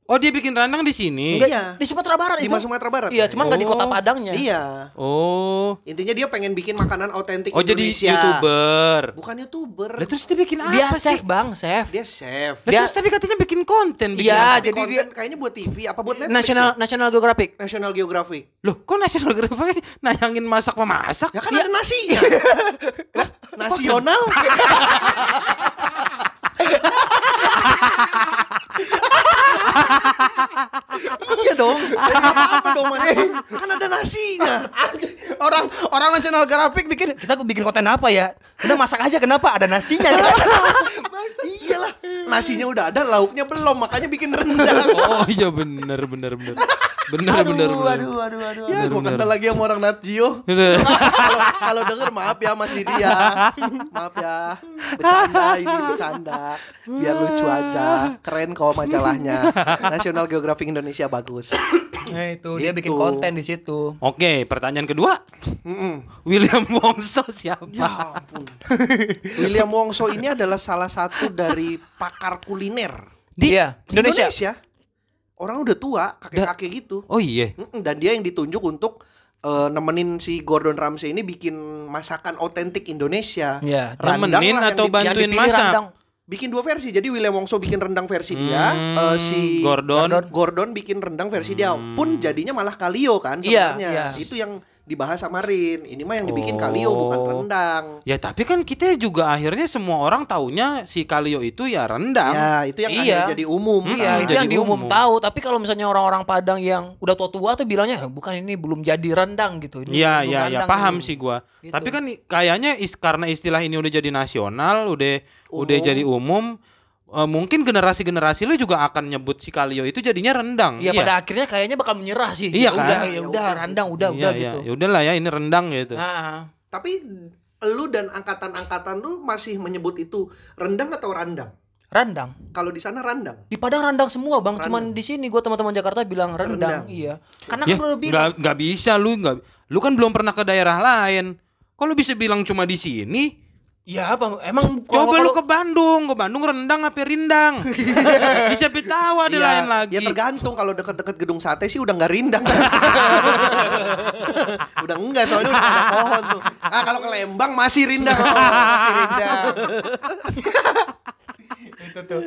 B: Oh, dia bikin randang di sini.
C: Enggak,
A: Iya.
C: Di Sumatera Barat
A: Di
C: itu.
A: Sumatera Barat.
C: Iya, cuman nggak di kota
B: Oh.
C: Padangnya.
A: Iya.
B: Oh.
A: Intinya dia pengen bikin makanan autentik
B: Oh, jadi
A: Indonesia.
B: YouTuber.
A: Bukan YouTuber.
B: Lah terus dia bikin apa
C: Dia
B: sih?
C: chef bang, chef.
A: Dia chef.
B: Lah,
C: Dia-
B: terus tadi katanya bikin konten bikin
C: Iya,
B: apa?
C: jadi
A: Konten
C: dia-
A: kayaknya buat TV apa buat Netflix.
C: National
A: ya?
C: National Geographic.
A: National Geographic.
B: Loh, kok National Geographic *laughs* nayangin masak memasak?
A: Ya kan ada nasinya. Lah, nasional. iya dong. Apa dong Mas? Kan ada nasinya.
C: Orang orang National Geographic bikin kita bikin konten apa ya? Udah masak aja kenapa ada nasinya? kan? *laughs*
A: Iyalah, nasinya udah ada, lauknya belum, makanya bikin rendang.
B: Oh iya benar benar benar. Benar benar benar.
A: aduh, aduh, aduh. Ya,
B: Bener,
A: gue
B: bener.
A: kenal lagi sama orang Nat Geo.
B: Aduh.
A: Kalau kalau denger maaf ya Mas Didi ya. Maaf ya. Bercanda ini bercanda. Biar lucu aja. Keren kok majalahnya. National Geographic Indonesia bagus.
C: Nah itu dia bikin konten di situ.
B: Oke, pertanyaan kedua. William Wongso siapa?
A: *laughs* William Wongso ini adalah salah satu dari pakar kuliner
C: Di iya,
A: di
C: Indonesia.
A: Indonesia. Orang udah tua, kakek-kakek gitu.
B: Oh iya.
A: Mm-mm, Dan dia yang ditunjuk untuk eh, nemenin si Gordon Ramsay ini bikin masakan autentik Indonesia.
C: Iya,
A: Randang lah
B: Nemenin
A: yang
B: atau
A: di-
B: bantu? Bantuin
C: dipilih
B: masak.
C: randang.
A: bikin dua versi. Jadi William Wongso bikin rendang versi dia,
B: Hmm,
A: eh, si
B: Gordon. Hmm.
A: Gordon bikin rendang versi dia. Pun jadinya malah Kalio kan
C: Iya,
A: sebenarnya.
C: iya.
A: Itu yang dibahas sama Rin. Ini mah yang dibikin Kalio
B: Oh.
A: bukan rendang.
B: Ya tapi kan kita juga akhirnya semua orang taunya si Kalio itu ya rendang.
A: Ya, itu yang
C: Iya.
A: akhirnya jadi umum.
B: Hmm.
A: kan.
C: Iya, itu
B: Nah, jadi
C: yang diumum
B: umum.
C: tahu. Tapi kalau misalnya orang-orang Padang yang udah tua-tua tuh bilangnya "Eh, bukan ini belum jadi rendang gitu. Ini
B: Iya,
C: belum
B: iya, ya,
C: rendang
B: paham
C: ini."
B: sih gua.
C: Gitu.
B: Tapi kan i- kayaknya is, karena istilah ini udah jadi nasional, udah udah jadi umum, eh, mungkin generasi-generasi lu juga akan nyebut si Kalio itu jadinya rendang.
C: Iya, pada akhirnya kayaknya bakal menyerah sih.
B: Iya
C: ya
B: kan?
C: udah, ya udah randang, udah,
B: Iya,
C: udah
B: iya.
C: gitu.
B: Ya udahlah ya ini rendang gitu.
C: Ah,
A: Tapi lu dan angkatan-angkatan lu masih menyebut itu rendang atau randang?
C: rendang.
A: Kalau di sana randang.
C: Di Padang randang semua, Bang. Cuman
A: Randang.
C: di sini gua teman-teman Jakarta bilang rendang.
A: Rendang.
C: Iya. Karena
B: Ya,
C: kan gua udah bilang
B: nggak nggak bisa lu nggak lu kan belum pernah ke daerah lain. Kok lu bisa bilang cuma di sini?
C: Ya apa emang
B: Coba lu
C: kalau-
B: ke Bandung, ke Bandung rendang apa
C: *laughs*
B: rindang? bisa tahu ada
A: Iya,
B: lain lagi.
A: Ya tergantung kalau deket-deket gedung sate sih udah nggak rindang. udah enggak soalnya udah ada pohon tuh. Ah kalau ke Lembang masih rindang. Oh, masih rindang.
D: Itu tuh.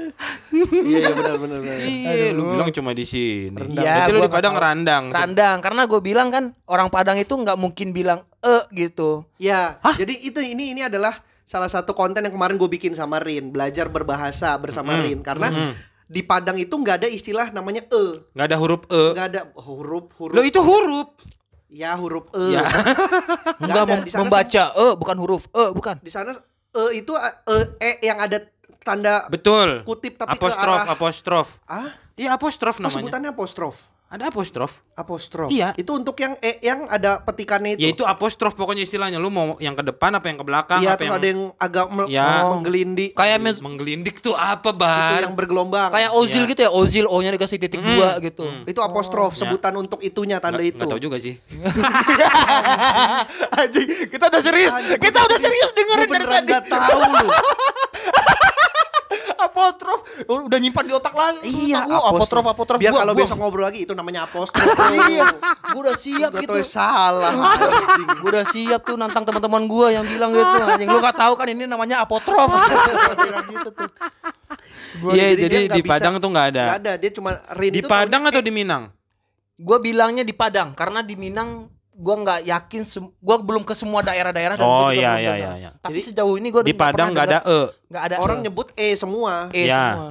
A: Iya iya, benar benar benar.
B: Iya, lu bilang cuma di sini.
A: Rendang.
C: Iya,
B: Berarti lu
C: gua
B: di Padang
C: nggak tahu.
B: rendang.
C: Randang karena gue bilang kan orang Padang itu nggak mungkin bilang eh gitu.
A: Ya, jadi itu ini ini adalah salah satu konten yang kemarin gue bikin sama Rin, belajar berbahasa bersama Rin karena di Padang itu nggak ada istilah namanya e,
B: Gak ada huruf e.
A: nggak ada huruf huruf.
B: Lo itu huruf.
A: Ya huruf e.
B: Ya.
C: *laughs*
A: Nggak
C: Enggak
A: ada.
C: mem-
A: Di sana
C: membaca eh bukan huruf eh bukan.
A: sem- Di sana e itu e, e yang ada tanda
B: Betul.
A: kutip tapi
B: Apostrof,
A: ke arah
B: apostrof.
A: ah
B: Iya, apostrof
A: Oh,
B: namanya.
A: sebutannya apostrof.
B: Ada apostrof.
A: Apostrof.
B: Iya.
A: Itu untuk yang e yang ada petikannya itu.
B: Ya itu apostrof pokoknya istilahnya. Lu mau yang ke depan apa yang ke belakang
A: Iya,
B: apa
A: terus
B: yang
A: ada yang agak me-
B: Ya.
A: menggelindi.
C: Kayak mes-
B: menggelindik tuh apa,
A: itu
B: Bar?
A: yang bergelombang.
C: kayak ozil
B: Iya.
C: gitu ya, ozil O-nya dikasih titik
B: Mm,
C: dua gitu.
B: mm.
A: itu apostrof
B: Ya.
A: sebutan untuk itunya tanda
B: Nggak-
A: itu.
B: nggak tahu juga sih.
D: Anjing, kita udah serius. Kita udah serius dengerin
A: Lu
D: dari
A: beneran
D: tadi.
A: nggak tahu
B: *laughs*
A: lu.
D: Apotrof udah nyimpan di otak lagi.
C: Iya,
D: Otak gua,
C: apostrof, apostrof.
A: Biar
C: Gua-
A: kalau
C: gua-
A: besok ngobrol lagi itu namanya
B: *laughs*
A: apostrof.
C: Iya, gue udah siap
A: Nggak
C: gitu.
A: tahu ya, salah. anjing.
C: Gue udah siap tuh nantang teman-teman gue yang bilang gitu. Anjing lu gak tahu kan ini namanya apotrof. Gua bilang gitu tuh.
B: Iya,
A: dia
B: jadi
A: nggak
B: di
A: bisa-
B: Padang tuh nggak ada.
A: Nggak ada, dia cuma Rin
B: Di
A: itu
B: Padang
A: tahunya
B: atau di Minang?
C: Gue bilangnya di Padang karena di Minang gue nggak yakin sem- gue belum ke semua daerah-daerah dan
B: Oh,
C: gua juga
B: iya,
C: belum
B: iya,
C: dengar.
B: iya, iya.
C: tapi sejauh ini gue
B: Di Padang nggak ada e,
C: nggak ada
A: Orang
C: e.
A: nyebut E semua.
B: Ya.
C: e semua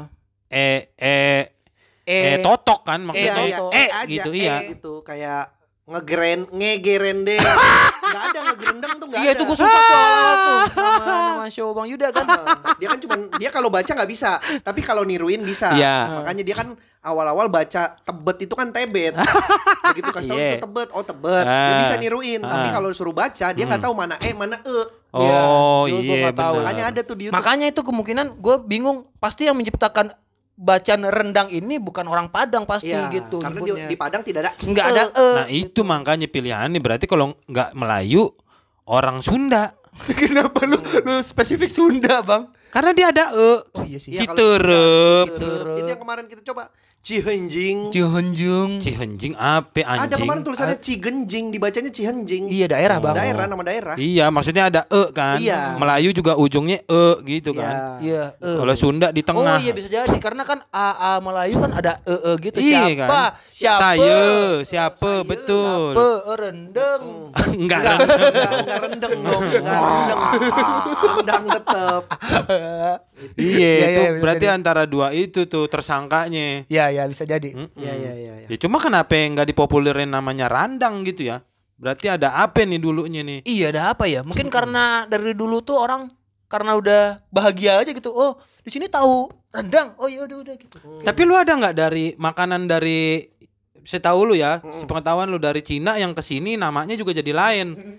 B: e e
C: e,
B: e totok kan maksudnya
A: Iya,
B: e,
A: iya. aja,
B: gitu
A: E
B: iya.
A: gitu kayak ngegeren ngegerende. Gak ada ngegerendeng tuh gak
C: iya
A: ada.
C: itu gue susah tuh awal-awal tuh nama nama show bang Yuda kan
A: dia kan cuman dia kalau baca nggak bisa, tapi kalau niruin bisa.
B: Iya.
A: Makanya dia kan awal-awal baca tebet itu kan tebet. Begitu kasih tahu
B: Iya.
A: itu tebet, oh tebet. Dia
B: Ah.
A: bisa niruin, tapi
B: Ah.
A: kalau suruh baca dia nggak tahu mana e, mana e.
B: Oh
C: Iya, gua
B: iya
C: nggak tahu.
B: benar.
A: Makanya ada tuh di YouTube.
C: makanya itu kemungkinan gue bingung pasti yang menciptakan bacaan rendang ini bukan orang Padang pasti
A: Iya,
C: gitu
A: Karena di,
C: nyebutnya.
A: di Padang tidak ada
C: nggak
A: *laughs*
C: ada e
B: Nah itu makanya pilihannya berarti kalau nggak Melayu orang Sunda
D: Kenapa lu lu spesifik Sunda, Bang?
B: karena dia ada e
C: oh iya sih
A: Iya, kalau
B: Citerep.
A: Citerep. Gitu. Itu yang kemarin kita coba. Cihenjing.
C: Cihenjung
B: Cihenjing apa anjing?
A: Ada kemarin tulisannya Cigenjing, dibacanya Cihenjing.
C: iya daerah bang
A: Daerah nama daerah.
B: Iya, maksudnya ada e kan.
A: Iya.
B: Melayu juga ujungnya e gitu kan.
A: Iya.
C: iya e.
B: Kalau Sunda di tengah.
C: Oh iya bisa jadi karena kan AA Melayu kan ada e e gitu
B: Iya
C: siapa
B: kan?
C: siapa
B: Saya, siapa betul.
C: siapa rendeng
B: Oh. *laughs* Enggak. kan?
A: Enggak, enggak, enggak rendeng dong,
B: Oh.
A: enggak rendeng. Rendang tetep.
B: Iya,
C: Iya,
B: itu
C: iya, bisa
B: berarti
C: jadi.
B: antara dua itu tuh tersangkanya.
C: ya ya bisa jadi
B: Mm-mm.
A: Iya, iya, iya. iya.
B: Ya cuma kenapa nggak dipopulerin namanya Randang gitu ya? Berarti ada apa nih dulunya nih?
C: iya ada apa ya mungkin karena dari dulu tuh orang karena udah bahagia aja gitu oh di sini tahu rendang oh iya udah udah gitu
B: Tapi lu ada nggak dari makanan dari setahu lu ya, sepengetahuan lu dari Cina yang kesini namanya juga jadi lain.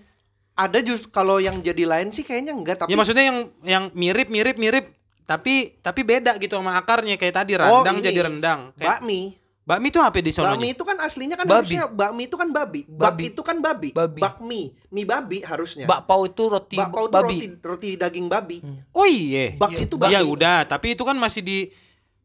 A: Ada just kalau yang jadi lain sih kayaknya enggak, tapi
B: Ya maksudnya yang yang mirip mirip mirip tapi tapi beda gitu sama akarnya kayak tadi
A: Oh,
B: rendang
A: ini.
B: jadi rendang. Kayak,
A: bakmi.
B: bakmi tuh apa di sononya?
A: Bakmi itu kan aslinya kan
C: Babi.
A: harusnya bakmi itu kan babi. Bak
C: Babi.
A: itu kan babi.
C: Babi.
A: Bakmi, mie babi harusnya.
C: bakpao itu roti
A: iya. Bakpao itu
C: babi
A: roti, roti daging babi.
B: Oh iya.
A: Bak
C: Iya,
A: itu babi.
B: Iya udah, tapi itu kan masih di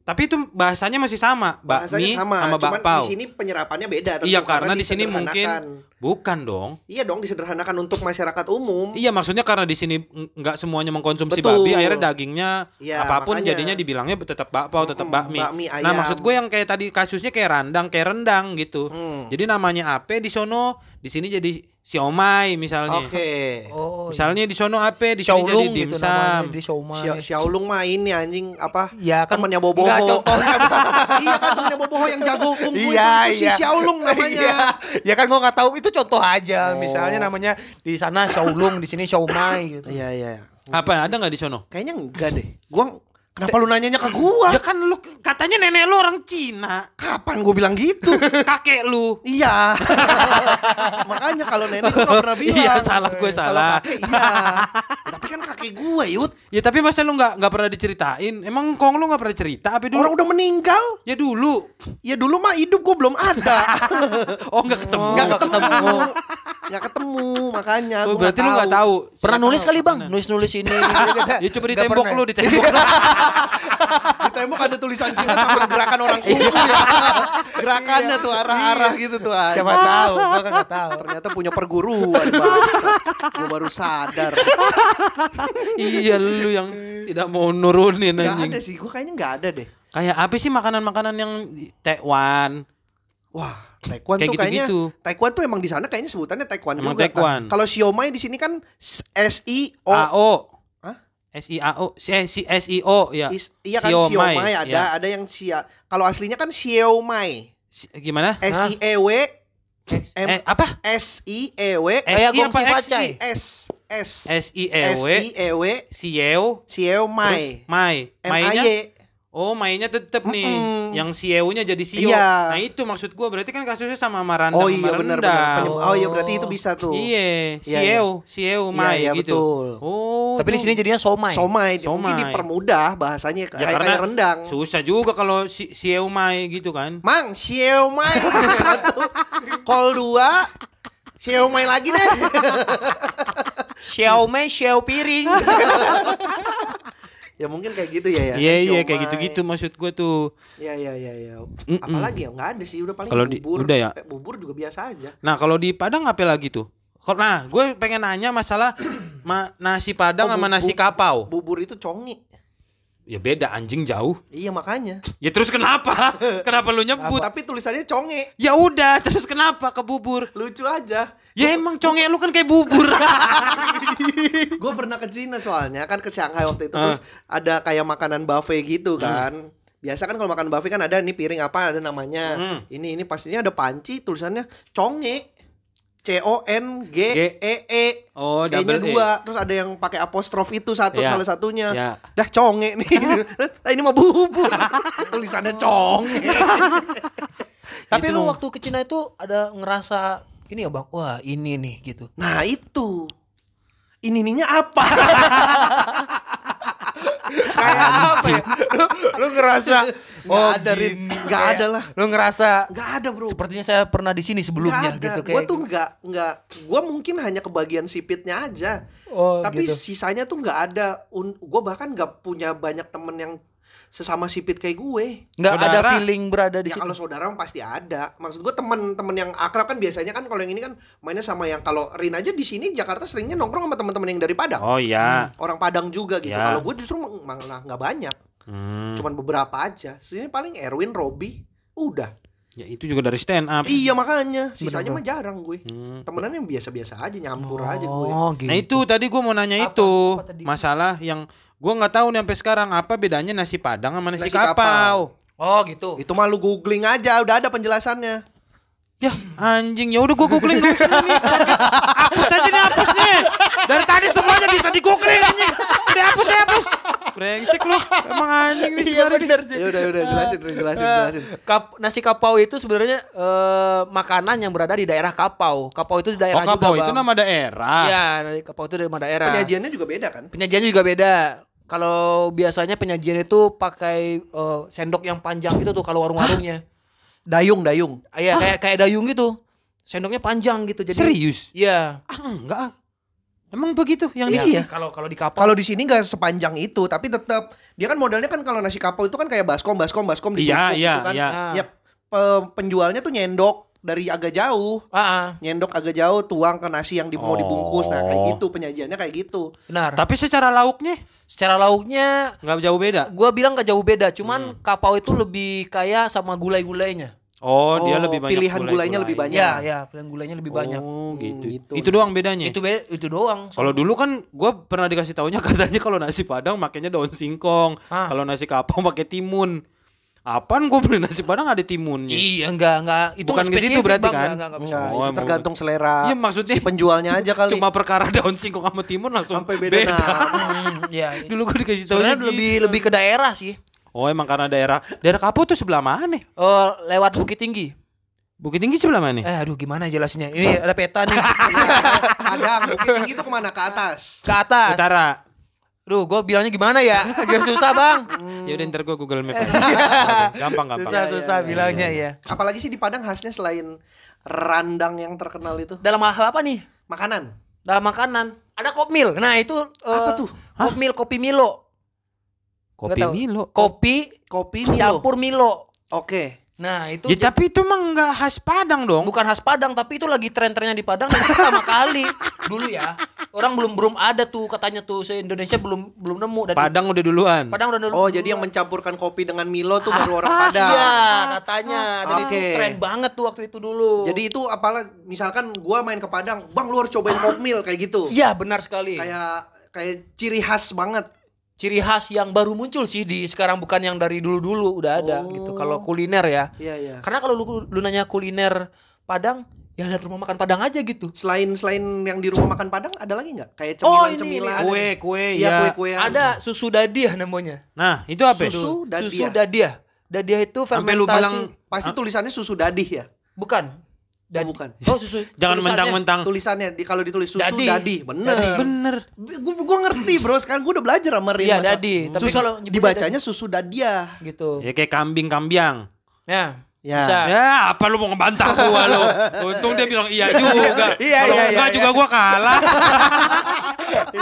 B: tapi itu bahasanya masih sama,
A: Bahasanya
B: bakmi
A: sama,
B: sama
A: cuman
B: bakpao.
A: di sini penyerapannya beda tentu,
B: Iya, karena di sini mungkin-
A: disederhanakan.
B: Bukan dong.
A: Iya dong disederhanakan untuk masyarakat umum.
B: Iya maksudnya karena di sini n- nggak semuanya mengkonsumsi
A: Betul.
B: babi, akhirnya dagingnya
A: Iya,
B: apapun
A: makanya.
B: jadinya dibilangnya tetap bakpao, tetap
A: Mm-mm,
B: bakmi.
A: bakmi,
B: Nah
A: ayam.
B: maksud gue yang kayak tadi kasusnya kayak randang, kayak rendang gitu.
A: Hmm.
B: Jadi namanya apa di sono, di sini jadi siomay misalnya.
A: Oke.
C: oh iya.
B: Misalnya di sono apa di sini jadi
C: Shaolong gitu namanya
B: dimsum.
C: di
A: Xia-
C: Shaomai.
A: Xiaolong mah ini anjing apa?
C: Ya kan
A: temannya Boboho.
C: Enggak,
A: *laughs*
C: contohnya.
A: iya kan temannya Boboho yang jago kungfu
C: Iya,
A: itu, itu si
C: iya.
A: Xiaolong namanya.
C: Iya. ya kan gua nggak tahu itu contoh aja.
A: Oh.
C: Misalnya namanya di sana Shaolong, di sini Shaomai gitu.
A: Iya iya.
B: Apa ada nggak di sono?
A: Kayaknya enggak deh. Gua kenapa lu nanyanya ke gua?
B: Ya kan lu katanya nenek lu orang *laughs* Cina,
A: Kapan gua bilang gitu?
B: kakek lu.
A: iya. *laughs* Makanya kalau nenek gua nggak pernah bilang.
B: Iya, salah gue,
A: Kalau
B: salah.
A: kakek, iya. Tapi kan kakek gua, Yut.
B: Ya tapi masa lu nggak nggak pernah diceritain? Emang kong lu nggak pernah cerita apa dulu?
A: Orang udah meninggal.
B: Ya dulu.
A: Ya dulu mah hidup gua belum ada.
B: *laughs* Oh nggak ketemu.
A: Nggak
C: nggak
A: ketemu.
C: ketemu.
A: Nggak ketemu, makanya
B: Oh,
A: gua
B: berarti lu
A: nggak
B: nggak tahu.
C: Pernah
B: Nggak
C: nulis
B: tahu,
C: kali Bang,
B: pernah.
C: nulis-nulis ini.
B: *laughs* Ya coba di
C: Nggak
B: tembok
C: pernah.
B: lu, di tembok
A: *laughs*
B: lu.
A: Di tembok ada tulisan Cina sama gerakan orang kungfu *laughs* ya. Gerakannya tuh arah-arah gitu tuh. anjing.
C: Siapa tahu, gua kan nggak tahu.
A: Ternyata punya perguruan bangsa. Gua baru sadar.
B: Nah, iya lu yang tidak mau nurunin
A: Gak
B: anjing.
A: ada sih, gua kayaknya gak ada deh.
B: Kayak apa sih makanan-makanan yang di- Taiwan?
A: Wah, Taekwondo
B: Kayak
A: tuh kayaknya
B: gitu-gitu.
A: Taekwondo tuh emang di sana kayaknya sebutannya Taekwondo
B: Emang
A: juga. kan.
B: Taekwondo.
A: Kalau siomay di sini kan S I O
B: AO.
A: Hah?
B: S I A O S I S I O ya.
A: Is- iya kan
B: Siomay,
A: siomay, ada
B: iya.
A: ada yang sia. Kalau aslinya kan siomay.
B: Si- Gimana?
A: S I E W M
B: Eh apa?
A: S I E W
B: S
C: Kayak
B: I
C: gongsi
B: apa X
C: pacai.
B: I?
A: S S
B: S I E
A: ya. S
B: W
A: I E W
B: Sieu
A: siomay.
B: terus Mai.
A: M A
B: Mainnya
A: Y.
B: Oh mainnya tetep nih
A: Mm-mm.
B: Yang CEO-nya jadi CEO
A: Iya.
B: Nah itu maksud gua Berarti kan kasusnya sama sama Randang
A: Oh
B: sama
A: iya benar benar.
B: Rendang.
A: Penyem- Oh iya berarti itu bisa tuh. Iya,
B: Iya CEO CEO Mai
A: iya,
B: gitu
A: betul.
B: Oh
C: Tapi di
B: itu-
C: sini jadinya Somai.
A: Somai, mungkin
B: Somai.
A: dipermudah bahasanya
B: Ya,
A: kayak,
B: karena
A: kayak rendang.
B: Susah juga kalau si, CEO Mai gitu
A: *laughs*
B: kan
A: Mang,
B: *laughs*
A: siomay satu, kol dua, siomay lagi
B: *laughs*
A: deh.
C: Xiaomai, Xiao piring.
A: ya mungkin kayak gitu ya ya.
B: *laughs* Iya iya kayak
A: Siomay.
B: gitu-gitu maksud gua tuh
A: Iya iya iya iya.
B: Mm-mm.
A: Apalagi ya nggak ada sih udah paling
B: Kalau di-
A: bubur.
B: udah ya?
A: Kayak Bubur juga biasa aja.
B: Nah kalau di Padang apa lagi tuh? Kok- Nah gue
A: *clears throat*
B: pengen nanya masalah ma- nasi
A: Oh,
B: Padang
A: bu-
B: sama nasi
A: bu-
B: kapau
A: Bubur itu congi.
B: Ya beda anjing jauh.
A: Iya makanya.
B: Ya terus
A: *laughs*
B: kenapa? kenapa lu nyebut?
A: Tapi tulisannya conge.
B: Ya udah, terus kenapa kebubur?
A: Lucu aja.
B: Ya emang conge lu kan kayak
A: *laughs*
B: bubur.
A: Gue pernah ke Cina soalnya kan ke Shanghai waktu itu terus
B: Ah.
A: ada kayak makanan buffet
B: Hmm.
A: gitu kan. Biasa kan kalau makan buffet kan ada nih piring apa ada namanya.
B: Hmm.
A: Ini ini pastinya ada panci tulisannya conge. C O N G E E.
B: Oh,
A: E-nya
B: double E.
A: dua, terus ada yang pakai apostrof itu satu
B: Iya.
A: salah satunya.
B: Iya.
A: Dah conge
B: *laughs*
A: nih. nah, ini mah bubur. Tulisannya conge.
C: Tapi
B: Gitu.
C: lu waktu ke Cina itu ada ngerasa ini ya bang, wah ini nih gitu.
A: Nah, itu. Ini ininya
B: *laughs*
A: apa?
D: Kayak apa ya? Lu, lu ngerasa
B: oh,
A: Nggak ada, Rin. Nggak
D: kayak-
A: ada lah.
C: Oh, Lu ngerasa
A: Nggak ada, bro.
C: sepertinya saya pernah di sini sebelumnya
A: Nggak ada.
C: gitu
A: Gua
C: kayak.
A: tuh nggak nggak gua mungkin hanya kebagian sipitnya aja.
C: Oh,
A: Tapi
C: gitu.
A: sisanya tuh nggak ada. Un, gua bahkan nggak punya banyak temen yang sesama sipit kayak gue.
C: nggak ada
B: Saudara.
C: feeling berada di
A: ya
C: situ.
A: kalau saudara mah pasti ada. Maksud gue teman-teman yang akrab kan biasanya kan kalau yang ini kan mainnya sama yang kalau Rin aja di sini Jakarta seringnya nongkrong sama teman-teman yang dari Padang.
B: Oh iya.
A: Orang Padang juga gitu.
B: Ya.
A: Kalau gue justru meng- malah nggak banyak,
B: Hmm.
A: cuman beberapa aja. Sini paling Erwin, Robi, udah.
B: Ya itu juga dari stand up.
A: Iya makanya, sisanya
C: Bener-bener.
A: mah jarang gue.
B: Hmm.
A: Temenan yang biasa-biasa aja, nyampur aja gue.
C: Oh, gitu.
B: Nah itu tadi gue mau nanya
C: Apa?
B: itu
C: Apa tadi?
B: masalah yang gue nggak tahu nih sampai sekarang apa bedanya nasi padang sama nasi,
A: Nasi
B: kapau.
A: kapau.
C: Oh, gitu.
A: Itu mah lu googling aja, udah ada penjelasannya.
B: Ya anjing ya udah gue googling gue sendiri. Podcast. Hapus aja nih hapus nih. Dari tadi semuanya bisa di googling anjing. Udah hapus ya hapus. Brengsek lu. Emang anjing nih
C: Iya
B: sebenarnya.
C: benar Ji.
A: Ya udah udah jelasin, Rin, jelasin,
C: Eh,
A: jelasin.
C: kap- nasi kapau itu sebenarnya eh, makanan yang berada di daerah kapau. Kapau itu di
B: Oh
C: daerah
B: kapau
C: juga,
B: itu
C: Bang.
B: nama Ah. daerah.
C: Iya, dari kapau itu dari daerah.
A: Penyajiannya juga beda kan?
C: Penyajiannya juga beda. Kalau biasanya penyajian itu pakai eh, sendok yang panjang gitu tuh kalau warung-warungnya.
A: Dayung, dayung.
C: Ah, Iya, kayak kayak dayung gitu. Sendoknya panjang gitu jadi.
B: Serius?
C: Iya.
B: Ah enggak. ah. Emang begitu yang di
A: Iya.
C: Kalau kalau di kapau.
A: Kalau di sini nggak sepanjang itu, tapi tetap dia kan modelnya kan kalau nasi kapau itu kan kayak baskom, baskom, baskom di
B: Iya, iya,
A: kan.
B: iya.
C: Ah.
A: Yap. Pe- penjualnya tuh nyendok dari agak jauh,
C: Ah, ah,
A: nyendok agak jauh tuang ke nasi yang di- mau dibungkus. Nah, kayak
B: Oh.
A: gitu penyajiannya kayak gitu.
C: benar.
B: Tapi secara lauknya
C: Secara lauknya
B: nggak jauh beda.
C: gua bilang gak jauh beda,
B: Hmm.
C: cuman kapau itu lebih kaya sama gulai-gulainya.
B: Oh, dia
A: Oh,
B: lebih banyak
A: pilihan gulainya lebih banyak.
C: Ya, ya, pilihan gulainya lebih banyak.
B: Oh, gitu.
A: gitu.
B: Itu doang bedanya.
C: Itu be- itu doang.
B: Kalau dulu kan gue pernah dikasih taunya *laughs* katanya kalau nasi padang makanya daun singkong,
C: Ah.
B: kalau nasi kapau pakai timun. Apaan gue beli nasi padang ada timunnya?
C: Iya, enggak, enggak. Itu
B: Bukan ke situ
C: spesifik,
B: berarti
C: Bang.
B: kan?
C: Enggak, enggak, enggak
A: Enggak,
B: Oh,
A: itu
B: emang
A: tergantung selera.
B: Iya maksudnya
A: si penjualnya aja
B: c-
A: kali.
B: Cuma perkara *laughs* daun singkong sama timun langsung
A: sampai beda. Nah, nama.
C: bisa. Hmm, Iya. iya.
B: *laughs* Dulu gue dikasih taunya gitu.
C: Sebenarnya lebih lebih ke daerah sih.
B: Oh emang karena daerah daerah kapau tuh sebelah mana?
C: Eh, lewat Bukit Tinggi.
B: Bukit Tinggi sebelah mana?
C: Eh, aduh gimana jelasinnya? Ini ada peta nih
A: Padang, Bukit Tinggi itu gitu kemana ke atas?
C: *laughs* ke atas.
B: Utara.
C: Duh, gue bilangnya gimana ya? Agak susah, Bang.
A: Hmm.
B: Ya udah ntar gue Google
A: *laughs*
B: Map. aja. Oke, gampang gampang.
C: Susah, susah bilangnya ya.
A: Apalagi sih di Padang khasnya selain randang yang terkenal itu,
C: Dalam hal apa nih?
A: makanan.
C: Dalam makanan. Ada kopmil. Nah, itu
A: Apa
C: eh,
A: tuh?
C: Kopmil, kopi Milo.
B: Kopi
C: Nggak tahu.
B: Milo.
C: Kopi
A: Kopi Milo.
C: campur Milo.
A: Oke.
C: Nah, itu
B: Ya tapi itu mah nggak khas Padang dong.
C: bukan khas Padang, tapi itu lagi tren-trennya di Padang dan itu pertama kali dulu ya. Orang belum belum ada tuh katanya tuh se-Indonesia belum belum nemu dan
B: Padang udah duluan.
C: Padang udah
A: Oh, jadi yang mencampurkan kopi dengan Milo tuh baru orang Padang.
C: *laughs* Iya, katanya. Jadi itu
A: Ah, Oke.
C: tren banget tuh waktu itu dulu.
A: Jadi itu apalah misalkan gua main ke Padang, Bang lu harus cobain kokmil kayak gitu.
C: iya benar sekali.
A: Kayak kayak ciri khas banget.
C: Ciri khas yang baru muncul sih di sekarang bukan yang dari dulu-dulu udah ada
A: Oh.
C: gitu kalau kuliner ya.
A: Iya, iya.
C: Karena kalau lu, lu nanya kuliner Padang, ya lihat rumah makan Padang aja gitu.
A: Selain selain yang di rumah makan Padang ada lagi nggak? Kayak
C: Oh,
A: cemilan-cemilan.
C: ini, ini.
A: ada
B: Kue
A: nih.
B: kue
A: Iya,
B: ya.
A: kue-kuean.
C: Ada susu dadiah namanya.
B: Nah itu apa? ya?
A: Susu dadiah.
C: Susu dadiah. Dadiah itu
B: Sampai lu bilang
C: fermentasi.
A: Pasti tulisannya susu dadih ya.
C: Bukan.
A: Oh, bukan.
C: Oh, susu.
B: *laughs* jangan
C: Tulisannya.
B: mentang-mentang.
A: Tulisannya di kalau ditulis susu
C: Dadih.
A: dadih, bener.
C: Dadih.
B: Bener.
A: Gue gue ngerti bro, sekarang gue udah belajar sama Rin.
C: Iya,
A: masalah.
C: dadih. Tapi
A: Susu-
C: kalau nyebutnya
A: dibacanya susu dadiah.
C: dadih. gitu.
B: Ya kayak kambing kambiang.
C: Nah,
A: Iya. Ya.
C: bisa.
B: Ya apa lu mau ngebantah gua lu? Untung dia bilang iya juga.
D: Iya,
B: Kalau
D: iya,
B: enggak
D: iya,
B: juga gua kalah.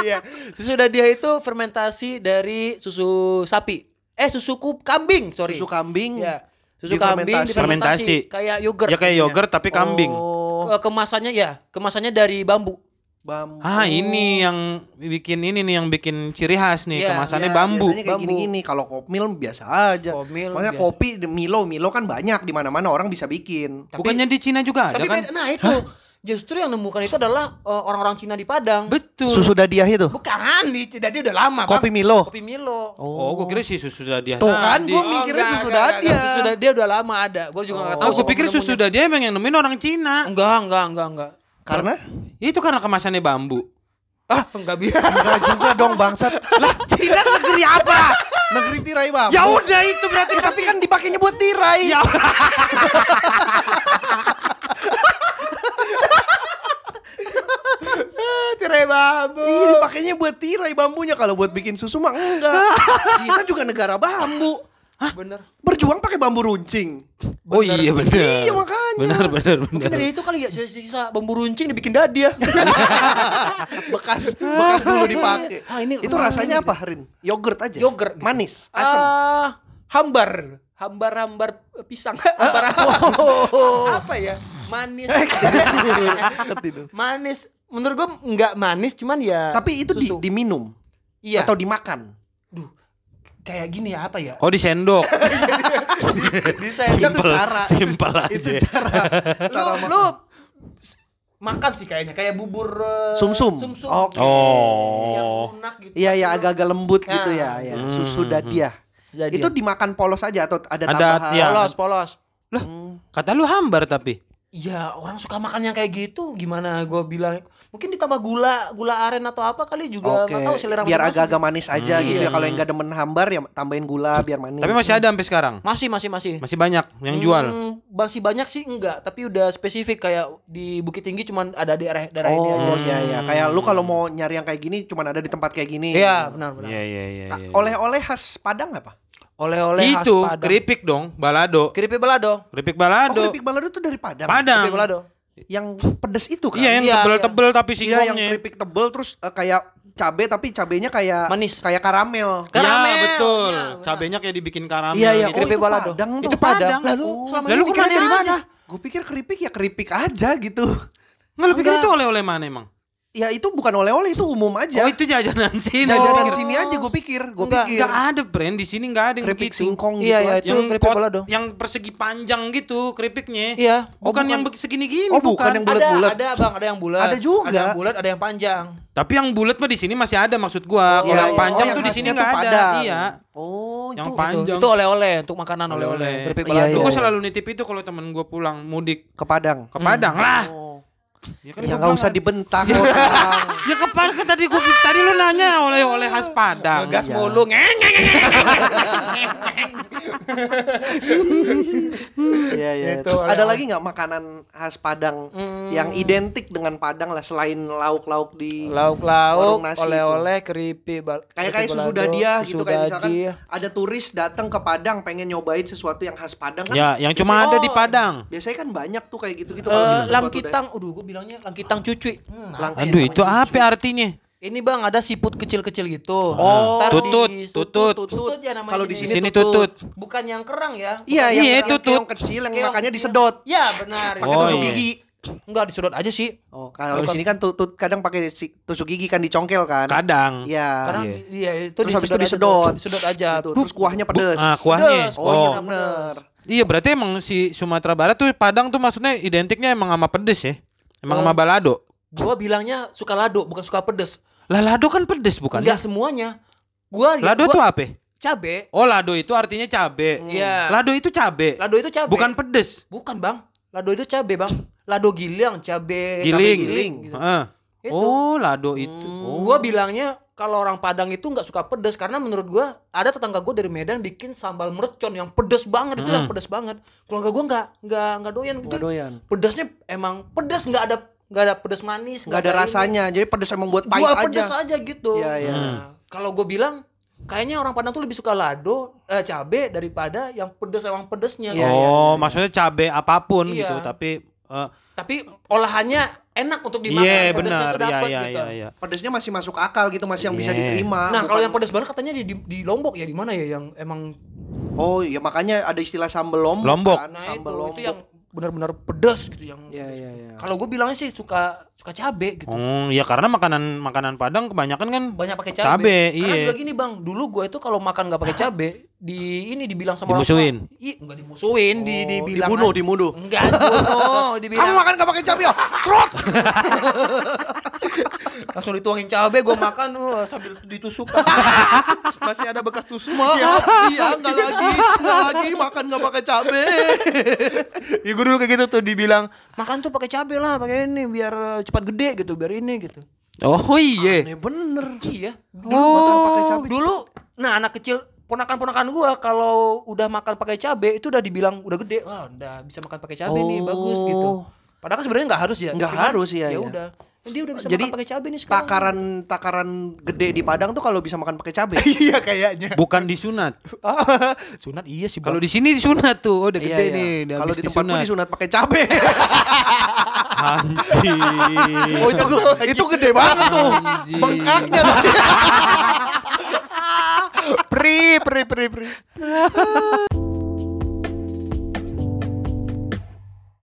D: Iya.
C: Susu dadiah itu fermentasi dari susu sapi. Eh, susu kup kambing, sorry.
A: Susu kambing.
C: Ya. Susu
A: Difermentasi.
C: kambing difermentasi
B: Fermentasi.
C: kayak yogurt. gitu
B: ya kayak
C: jadinya.
B: yogurt tapi kambing.
A: Oh.
C: Ke- Kemasannya ya, kemasannya dari bambu.
A: Bambu.
B: Ah ini yang bikin ini nih yang bikin ciri khas nih
C: Iya,
A: Iya,
B: kemasannya bambu.
A: biasanya kayak
C: Bambu.
A: gini-gini kalau kopmil biasa aja.
C: Kopmil
A: Makanya
C: biasa.
A: kopi Milo, Milo kan banyak di mana-mana orang bisa bikin.
B: Bukannya di Cina juga ada
C: Tapi
B: kan?
C: beda, nah itu justru yang nemukan itu adalah eh, orang-orang Cina di Padang.
B: Betul.
A: Susu dadiah itu.
C: Bukan di jadi udah lama Bang.
A: Kopi Milo.
C: Kopi Milo.
B: Oh, gue kira sih susu dadiah.
A: Tuh kan
B: tadi.
A: gua mikirnya
D: Oh, enggak,
A: susu
D: enggak,
A: dadiah.
C: Nah, susu da- dia udah lama ada. Gue juga nggak
B: Oh,
C: tahu.
B: gue pikir
C: kapan
B: susu
C: nemunya.
B: dadiah emang yang nemuin orang Cina.
C: Enggak, enggak, enggak, enggak.
A: Karena
B: Itu karena kemasannya bambu.
D: Ah, enggak bisa. *laughs*
A: enggak juga dong bangsat. Lah,
B: Cina negeri apa?
A: negeri tirai, Bang.
B: ya udah itu berarti
A: tapi kan dipakainya buat tirai.
B: Ya.
D: Tirai bambu.
A: Iya, dipakainya buat tirai bambunya kalau buat bikin susu mah enggak.
C: *laughs*
A: Kita juga negara bambu.
C: Bener.
A: Berjuang pakai bambu runcing.
B: Oh iya benar.
A: Iya, makanya.
B: Benar benar
C: Mungkin
B: benar.
C: dari itu kali ya sisa-sisa bambu runcing dibikin ya. dadiah.
B: *laughs*
A: Bekas bekas dulu dipakai.
C: Ah, ini
A: itu rasanya apa, Rin? Yogurt aja.
C: Yogurt gitu.
A: Manis, asam.
C: Ah, hambar. Hambar-hambar pisang. *laughs* Hambar-hambar.
A: Oh.
C: apa ya? Manis.
A: Eh, kan. Ketidur.
C: *laughs* manis. Menurut gue nggak manis, cuman ya.
A: Tapi itu di,
C: susu.
A: diminum
C: iya.
A: atau dimakan.
C: Duh, kayak gini ya apa ya?
B: Oh di sendok.
A: Itu tuh cara.
B: *laughs* Simpel aja.
A: Itu cara. ya, cara makan.
C: lu, lu s- makan sih kayaknya kayak bubur eh,
A: Sumsum.
C: sumsum.
A: Oke.
B: Oh.
C: Yang lunak gitu.
A: Iya ya agak-agak lembut gitu ya,
C: Nah.
A: ya. susu dadiah.
C: Dadiah.
A: Itu dimakan polos aja atau ada,
B: Ada,
A: tambahan? Hmm.
B: iya.
C: Polos, polos.
B: Kata lu hambar tapi.
C: Iya, orang suka makan yang kayak gitu. Gimana gua bilang? Mungkin ditambah gula, gula aren atau apa kali
A: Oke.
C: juga. nggak tahu selera
A: biar
C: masing-masing.
A: agak-agak manis aja gitu ya. Kalau yang gak demen hambar ya tambahin gula biar manis.
B: Hmm. Tapi masih ada sampai sekarang.
C: Masih, masih, masih.
B: Masih banyak yang jual.
C: Hmm, masih banyak sih enggak, tapi udah spesifik kayak di Bukit Tinggi cuman ada di daerah daerah ini aja.
A: Oh iya ya, kayak lu kalau mau nyari yang kayak gini cuman ada di tempat kayak gini.
C: Iya, benar benar.
B: Hmm. Iya iya iya.
A: Nah,
B: iya.
A: Oleh-oleh khas Padang apa?
C: Oleh-oleh khas
B: Itu
C: Padang.
B: keripik dong, balado.
C: keripik belado.
B: Keripik
A: Oh,
B: balado.
A: keripik balado tuh dari Padang.
B: Padang.
C: Keripik belado.
A: Yang pedes itu kan.
B: Iya yang
C: Iya,
B: tebel-tebel tapi
A: Iya, yang
B: singkongnya.
A: keripik tebel terus eh, kayak cabe tapi cabenya kayak
C: Manis.
A: kayak karamel.
B: Iya
C: Karamel.
B: betul.
C: Iya, benar.
B: Cabenya kayak dibikin karamel.
A: Iya, iya. Oh,
B: gitu.
C: Keripik
A: itu
C: balado.
A: Padang tuh.
C: Itu Padang. Lalu
A: Oh.
C: selama
B: Lalu
C: ini
B: kemarin
C: pikirnya
B: dari
C: aja.
B: mana?
A: Gue pikir keripik ya keripik aja gitu.
B: Nggak lu pikir
C: Enggak.
B: itu oleh-oleh mana emang?
A: Ya itu bukan oleh-oleh itu umum aja.
B: Oh itu jajanan sini.
A: Iya. Jajanan
B: Oh.
A: sini aja gue pikir, gue
C: Enggak,
A: pikir.
B: Nggak ada brand di sini nggak ada yang
A: keripik
B: begitu.
A: singkong
C: Iya,
A: gitu
C: iya,
A: aja.
C: itu keripik
B: kot-
C: balado.
B: yang persegi panjang gitu keripiknya.
C: Iya.
A: Oh,
B: Bukan,
A: bukan.
B: yang begi- segini-gini.
A: Oh, bukan yang bulat-bulat.
C: Ada, ada Bang, ada yang bulat.
A: Ada juga.
C: Ada yang bulat, ada yang panjang.
B: Tapi yang bulat mah di sini masih ada maksud gua. Kalau
A: Iya,
B: yang
A: iya.
B: panjang
A: Oh,
B: tuh
A: yang
B: di sini
A: khasnya
B: nggak
A: tuh
B: ada.
A: Padang.
B: Iya.
A: Oh,
B: Yang
A: itu
B: panjang.
C: Itu oleh-oleh untuk makanan
B: Oleh-oleh.
C: oleh-oleh. Keripik
A: Iya,
C: balado.
A: iya,
B: Gue
A: iya.
B: selalu nitip itu kalau temen gua pulang mudik
A: ke Padang.
B: ke Padang lah.
A: Oh.
B: Ya kan
A: Ya nggak
B: gua bilang,
A: usah dibentak orang.
B: Ya ke Padang kan tadi gua tadi lu nanya oleh-oleh khas Padang.
D: Ngegas
A: Iya.
D: mulu. Ngeng, ngeng, ngeng, ngeng.
A: *laughs* Iya iya.
C: Itu
A: Terus ada
C: oleh-oleh.
A: lagi nggak makanan khas Padang
C: Hmm.
A: yang identik dengan Padang lah selain lauk-lauk di
C: Lauk-lauk,
A: Warung nasi itu.
C: oleh-oleh, keripik bal-
A: kayak
C: keripik
A: kayak susu
C: balado,
A: dadiah
C: susu
A: gitu kayak misalkan
C: dadiah.
A: ada turis datang ke Padang pengen nyobain sesuatu yang khas Padang kan.
B: Ya, yang cuma ada di Padang.
A: Biasanya kan banyak tuh kayak gitu-gitu
C: Eh,
A: kalau di suatu daerah.
C: langkitang, aduh gue bilangnya langkitang cucuy. Hmm,
A: Lang-
B: Aduh, itu apa artinya?
C: Ini bang ada siput kecil-kecil gitu.
A: Oh.
C: Ntar
B: Tutut,
C: di-
B: tutut.
C: tutut ya namanya.
A: Kalau di
B: Di
A: Ini
B: sini
A: tutut.
B: tutut.
C: bukan yang kerang ya.
A: Iya,
C: Bukan
A: yang,
B: Iya,
A: yang
B: tutut.
A: keong kecil yang
C: Keong
A: makannya
C: kecil.
A: disedot.
C: Ya benar.
A: Pakai
B: Oh,
A: tusuk
B: iya.
A: gigi.
C: Enggak disedot aja sih.
A: Oh, kalau di
B: Bukan.
A: sini kan tutut kadang pakai si- tusuk gigi kan dicongkel kan.
B: Kadang.
A: Iya.
C: Karena iya itu
A: Terus habis itu
C: aja
A: disedot.
C: tuh, Disedot aja.
A: Gitu. Terus kuahnya
B: Bu-
A: pedes.
B: ah, kuahnya.
C: Pedes,
A: Oh, iya
B: Oh.
A: bener.
B: Iya, berarti emang si Sumatera Barat tuh Padang tuh maksudnya identiknya emang sama pedes ya. Emang sama balado.
C: Gua bilangnya suka lado bukan suka pedes.
B: Lah lado kan pedes bukan?
C: Enggak semuanya. Gua lihat-
B: Lado
C: gua,
B: tuh apa?
C: cabe.
B: Oh, lado itu artinya cabe.
C: Iya.
B: Lado itu cabe.
C: Lado itu cabe.
B: Bukan pedes.
C: bukan bang. Lado itu cabe bang. Lado giling, cabe.
B: Giling.
C: cabe giling gitu. Hmm.
B: Heeh.
C: Itu.
B: Oh, lado itu. Oh.
C: Gua bilangnya kalau orang Padang itu nggak suka pedas karena menurut gua ada tetangga gua dari Medan bikin sambal mercon yang pedas banget itu yang pedas banget. Keluarga gua nggak nggak nggak doyan gitu.
A: Hmm. Nggak doyan.
C: Pedasnya emang pedas nggak ada nggak ada pedas manis,
A: Nggak ada
C: ini.
A: rasanya. Jadi pedes emang buat pahit
C: Jual
A: aja.
C: pedas aja gitu.
A: Iya, iya.
C: Nah, kalau gua bilang kayaknya orang Padang tuh lebih suka lado eh, cabe daripada yang pedas emang pedasnya.
A: Iya,
B: oh,
A: iya,
B: maksudnya cabe apapun
C: Iya.
B: gitu, tapi eh,
C: Tapi olahannya enak untuk dimakan.
B: iya
C: pedasnya
B: benar.
C: tuh
B: Iya,
C: dapet
B: iya,
C: gitu.
B: iya, iya.
A: Pedesnya masih masuk akal gitu, masih yang bisa
B: Iya.
A: diterima.
C: Nah, kalau
A: Bukan-
C: yang pedas banget katanya di, di di Lombok ya di mana ya yang emang
A: Oh, iya makanya ada istilah sambel lombok.
B: Lombok.
A: kan.
C: Nah
A: Sambel
C: itu,
A: lombok.
C: itu yang benar-benar pedas gitu yang
A: Iya, iya, iya.
C: kalau gue bilangnya sih suka suka cabe gitu
B: Oh, ya karena makanan makanan Padang kebanyakan kan
C: banyak pakai cabe.
B: cabe,
C: Karena
B: iya.
C: juga gini bang, dulu gue itu kalau makan nggak pakai cabe di ini dibilang sama
B: Dimusuhin.
C: orang tua. Iya, nggak dimusuhin, di dibilang.
A: Oh,
C: kan.
A: dibunuh, dibunuh.
C: Enggak, *laughs* dibunuh, dibilang.
A: Kamu makan gak pakai cabai ya? Trot.
C: Langsung dituangin cabe, gue makan wah, sambil ditusuk. Masih ada bekas tusuk.
A: Iya, iya, nggak lagi, nggak lagi makan nggak pakai cabai.
C: *laughs* Ya gue dulu kayak gitu tuh dibilang makan tuh pakai cabe lah, pakai ini biar eh, cepat gede gitu, biar ini gitu.
B: Oh iya.
A: Aneh Ya, bener.
C: Iya.
A: Dulu gua tahu pakai cabai.
C: Dulu, nah anak kecil ponakan-ponakan gua kalau udah makan pakai cabe itu udah dibilang udah gede, wah udah bisa makan pakai cabe nih, bagus gitu.
A: Oh.
C: Padahal kan sebenarnya nggak harus ya.
A: Nggak
C: cuman
A: harus, iya, iya.
C: Ya udah. Dia udah bisa
A: Jadi
C: makan pakai cabe nih sekarang.
A: takaran takaran gede di Padang tuh kalau bisa makan pakai
B: *laughs*
A: cabai.
D: Iya kayaknya.
B: Bukan disunat.
C: sunat iya sih.
B: Kalau
C: Bang.
B: di sini disunat tuh, oh, udah
A: Iya,
B: gede
A: iya.
B: nih, Iya. udah
A: Kalau
B: habis
A: di tempat gue
B: disunat.
A: disunat pakai cabai.
B: Anjing.
A: *laughs* Oh itu
B: Iya.
A: itu gede banget tuh.
B: Anjing.
C: *laughs*
A: Bengkaknya tuh.
D: Pri pri pri pri.